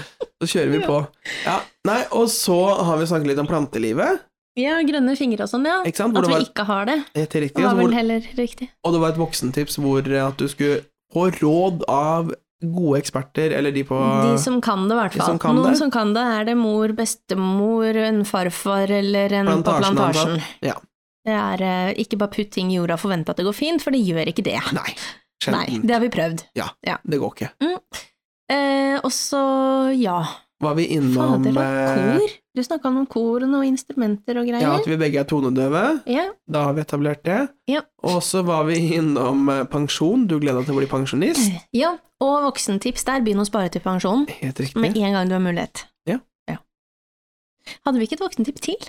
Speaker 1: så kjører vi på. Ja, nei, og så har vi snakket litt om plantelivet,
Speaker 2: Ja, grønne fingre og sånn, ja.
Speaker 1: ikke sant? Hvor
Speaker 2: At
Speaker 1: det
Speaker 2: vi
Speaker 1: var,
Speaker 2: ikke har det,
Speaker 1: helt riktig, altså,
Speaker 2: var
Speaker 1: hvor,
Speaker 2: vel heller riktig.
Speaker 1: og det var et voksentips hvor eh, at du skulle få råd av gode eksperter, eller de på
Speaker 2: De som kan det, i hvert
Speaker 1: De
Speaker 2: fall.
Speaker 1: som kan
Speaker 2: Noen
Speaker 1: det.
Speaker 2: som kan det, er det mor, bestemor, en farfar eller en på
Speaker 1: Plantasjen,
Speaker 2: plantasjen.
Speaker 1: Ja.
Speaker 2: Det er eh, ikke bare putt ting i jorda og forvente at det går fint, for det gjør ikke det.
Speaker 1: Nei,
Speaker 2: Nei,
Speaker 1: sjelden.
Speaker 2: det har vi prøvd.
Speaker 1: det går ikke.
Speaker 2: Eh, og så, ja,
Speaker 1: Var vi innom
Speaker 2: fader og
Speaker 1: eh,
Speaker 2: kor. Du snakka om noen kor og noen instrumenter og
Speaker 1: ja,
Speaker 2: greier.
Speaker 1: at vi begge er tonedøve?
Speaker 2: Ja,
Speaker 1: Da har vi etablert det.
Speaker 2: Ja.
Speaker 1: Og så var vi innom eh, pensjon. Du gleder deg til å bli pensjonist.
Speaker 2: ja. og voksentips der, begynn å spare til pensjonen
Speaker 1: Helt riktig.
Speaker 2: med en gang du har mulighet.
Speaker 1: Ja.
Speaker 2: Hadde vi ikke et voksentips til?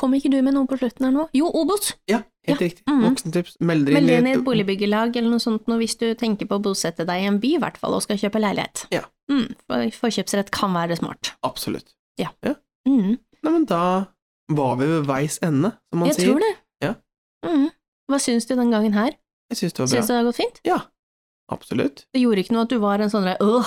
Speaker 2: Kom ikke du med noe på slutten her nå? Jo, Obos!
Speaker 1: Ja, helt riktig.
Speaker 2: mhm.
Speaker 1: Voksentips. Meld dere
Speaker 2: Meld deg inn i
Speaker 1: i-
Speaker 2: et boligbyggelag eller noe sånt nå hvis du tenker på å bosette deg i en by i hvert fall, og skal kjøpe leilighet.
Speaker 1: Ja.
Speaker 2: Mm, for- forkjøpsrett kan være smart.
Speaker 1: Absolutt.
Speaker 2: Mm,
Speaker 1: Nei, men da var vi ved veis ende, som man
Speaker 2: jeg
Speaker 1: sier.
Speaker 2: tror det.
Speaker 1: Ja.
Speaker 2: Mm. Hva syns du den gangen her?
Speaker 1: Jeg syns det var bra.
Speaker 2: Syns du det har gått fint?
Speaker 1: Absolutt.
Speaker 2: Det gjorde ikke noe at du var en sånn der øh,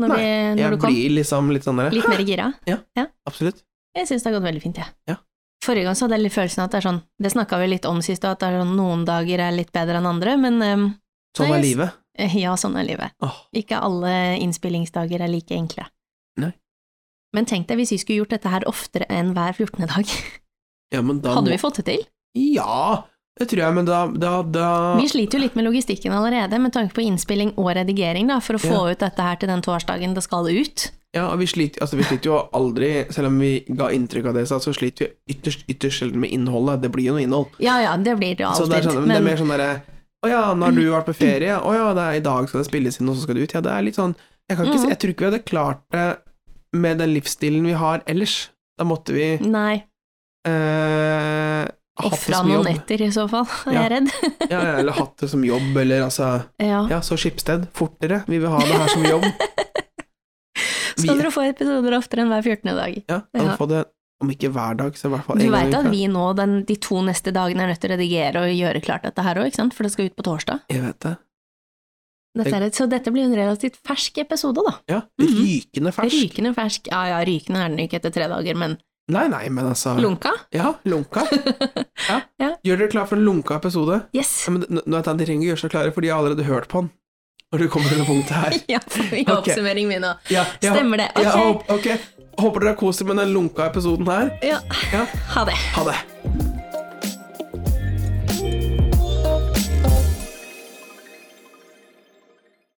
Speaker 2: når,
Speaker 1: Nei,
Speaker 2: vi- når
Speaker 1: Jeg
Speaker 2: du kom?
Speaker 1: blir liksom litt sånn der
Speaker 2: Litt
Speaker 1: «Hæ?»
Speaker 2: mer gira?
Speaker 1: Absolutt.
Speaker 2: Jeg syns det har gått veldig fint, jeg.
Speaker 1: Ja.
Speaker 2: Forrige gang så hadde jeg litt følelsen av at det er sånn, det snakka vi litt om sist, og at det er sånn, noen dager er litt bedre enn andre, men ehm,
Speaker 1: Sånn
Speaker 2: Nei,
Speaker 1: er
Speaker 2: jeg-
Speaker 1: livet.
Speaker 2: eh, ja, sånn er livet.
Speaker 1: Åh,
Speaker 2: Ikke alle innspillingsdager er like enkle.
Speaker 1: Nei.
Speaker 2: Men tenk deg hvis vi skulle gjort dette her oftere enn hver 14. dag.
Speaker 1: ja, men da
Speaker 2: Hadde
Speaker 1: må-
Speaker 2: vi fått det til?
Speaker 1: Ja, det tror jeg, men da, da, da
Speaker 2: Vi sliter jo litt med logistikken allerede, med tanke på innspilling og redigering, da, for å få ut dette her til den torsdagen det skal ut.
Speaker 1: Ja, og vi sliter, altså, vi sliter jo aldri, selv om vi ga inntrykk av det, så så sliter vi ytterst, ytterst sjelden med innholdet. Det blir jo noe innhold.
Speaker 2: Ja ja, det blir det jo
Speaker 1: Så det er,
Speaker 2: alltid.
Speaker 1: sånn, men... det er
Speaker 2: men, Mm.
Speaker 1: mer sånn derre Å ja, nå har du vært på ferie. Å ja, det er, i dag skal det spilles inn, og så skal det ut. Ja, det er litt sånn Jeg, kan ikke, si-
Speaker 2: Mhm.
Speaker 1: jeg tror ikke vi hadde klart det med den livsstilen vi har ellers. Da måtte vi eh,
Speaker 2: nei,
Speaker 1: hatt det
Speaker 2: ofra
Speaker 1: som
Speaker 2: noen
Speaker 1: jobb.
Speaker 2: netter i så fall, er
Speaker 1: Ja.
Speaker 2: jeg redd.
Speaker 1: Ja, ja, eller hatt det som jobb, eller altså
Speaker 2: Ja.
Speaker 1: Ja, så Skipsted, fortere. Vi vil ha det her som jobb. Vi,
Speaker 2: Skal dere få episoder oftere enn hver 14. dag?
Speaker 1: ja, kan
Speaker 2: Ja.
Speaker 1: få det om ikke hver dag, så i hvert fall
Speaker 2: Du
Speaker 1: en gang
Speaker 2: veit
Speaker 1: i
Speaker 2: at
Speaker 1: uka.
Speaker 2: vi nå den, de to neste dagene er nødt til å redigere og gjøre klart dette her òg, ikke sant, for det skal ut på torsdag.
Speaker 1: Jeg vet det.
Speaker 2: Dette er, et- så dette blir en relativt fersk episode, da.
Speaker 1: Ja,
Speaker 2: Mhm.
Speaker 1: rykende fersk.
Speaker 2: Rykende fersk. Ja ja, rykende er den ikke etter tre dager, men
Speaker 1: Nei, nei, men altså
Speaker 2: lunka?
Speaker 1: Ja, lunka. Ja.
Speaker 2: Ja.
Speaker 1: Gjør dere klar for en lunka episode?
Speaker 2: Yes!
Speaker 1: Ja, men nå- nå er det- de trenger ikke gjøre seg klare, for de har allerede hørt på den. Når det kommer til det punktet her.
Speaker 2: Ja, for vi
Speaker 1: Ok.
Speaker 2: har oppsummering min nå.
Speaker 1: Ja, ja,
Speaker 2: Stemmer det.
Speaker 1: ja,
Speaker 2: Ok.
Speaker 1: håp- ok. Håper dere har kost dere med den lunka episoden her.
Speaker 2: Ja,
Speaker 1: Ja,
Speaker 2: ha det.
Speaker 1: ha det.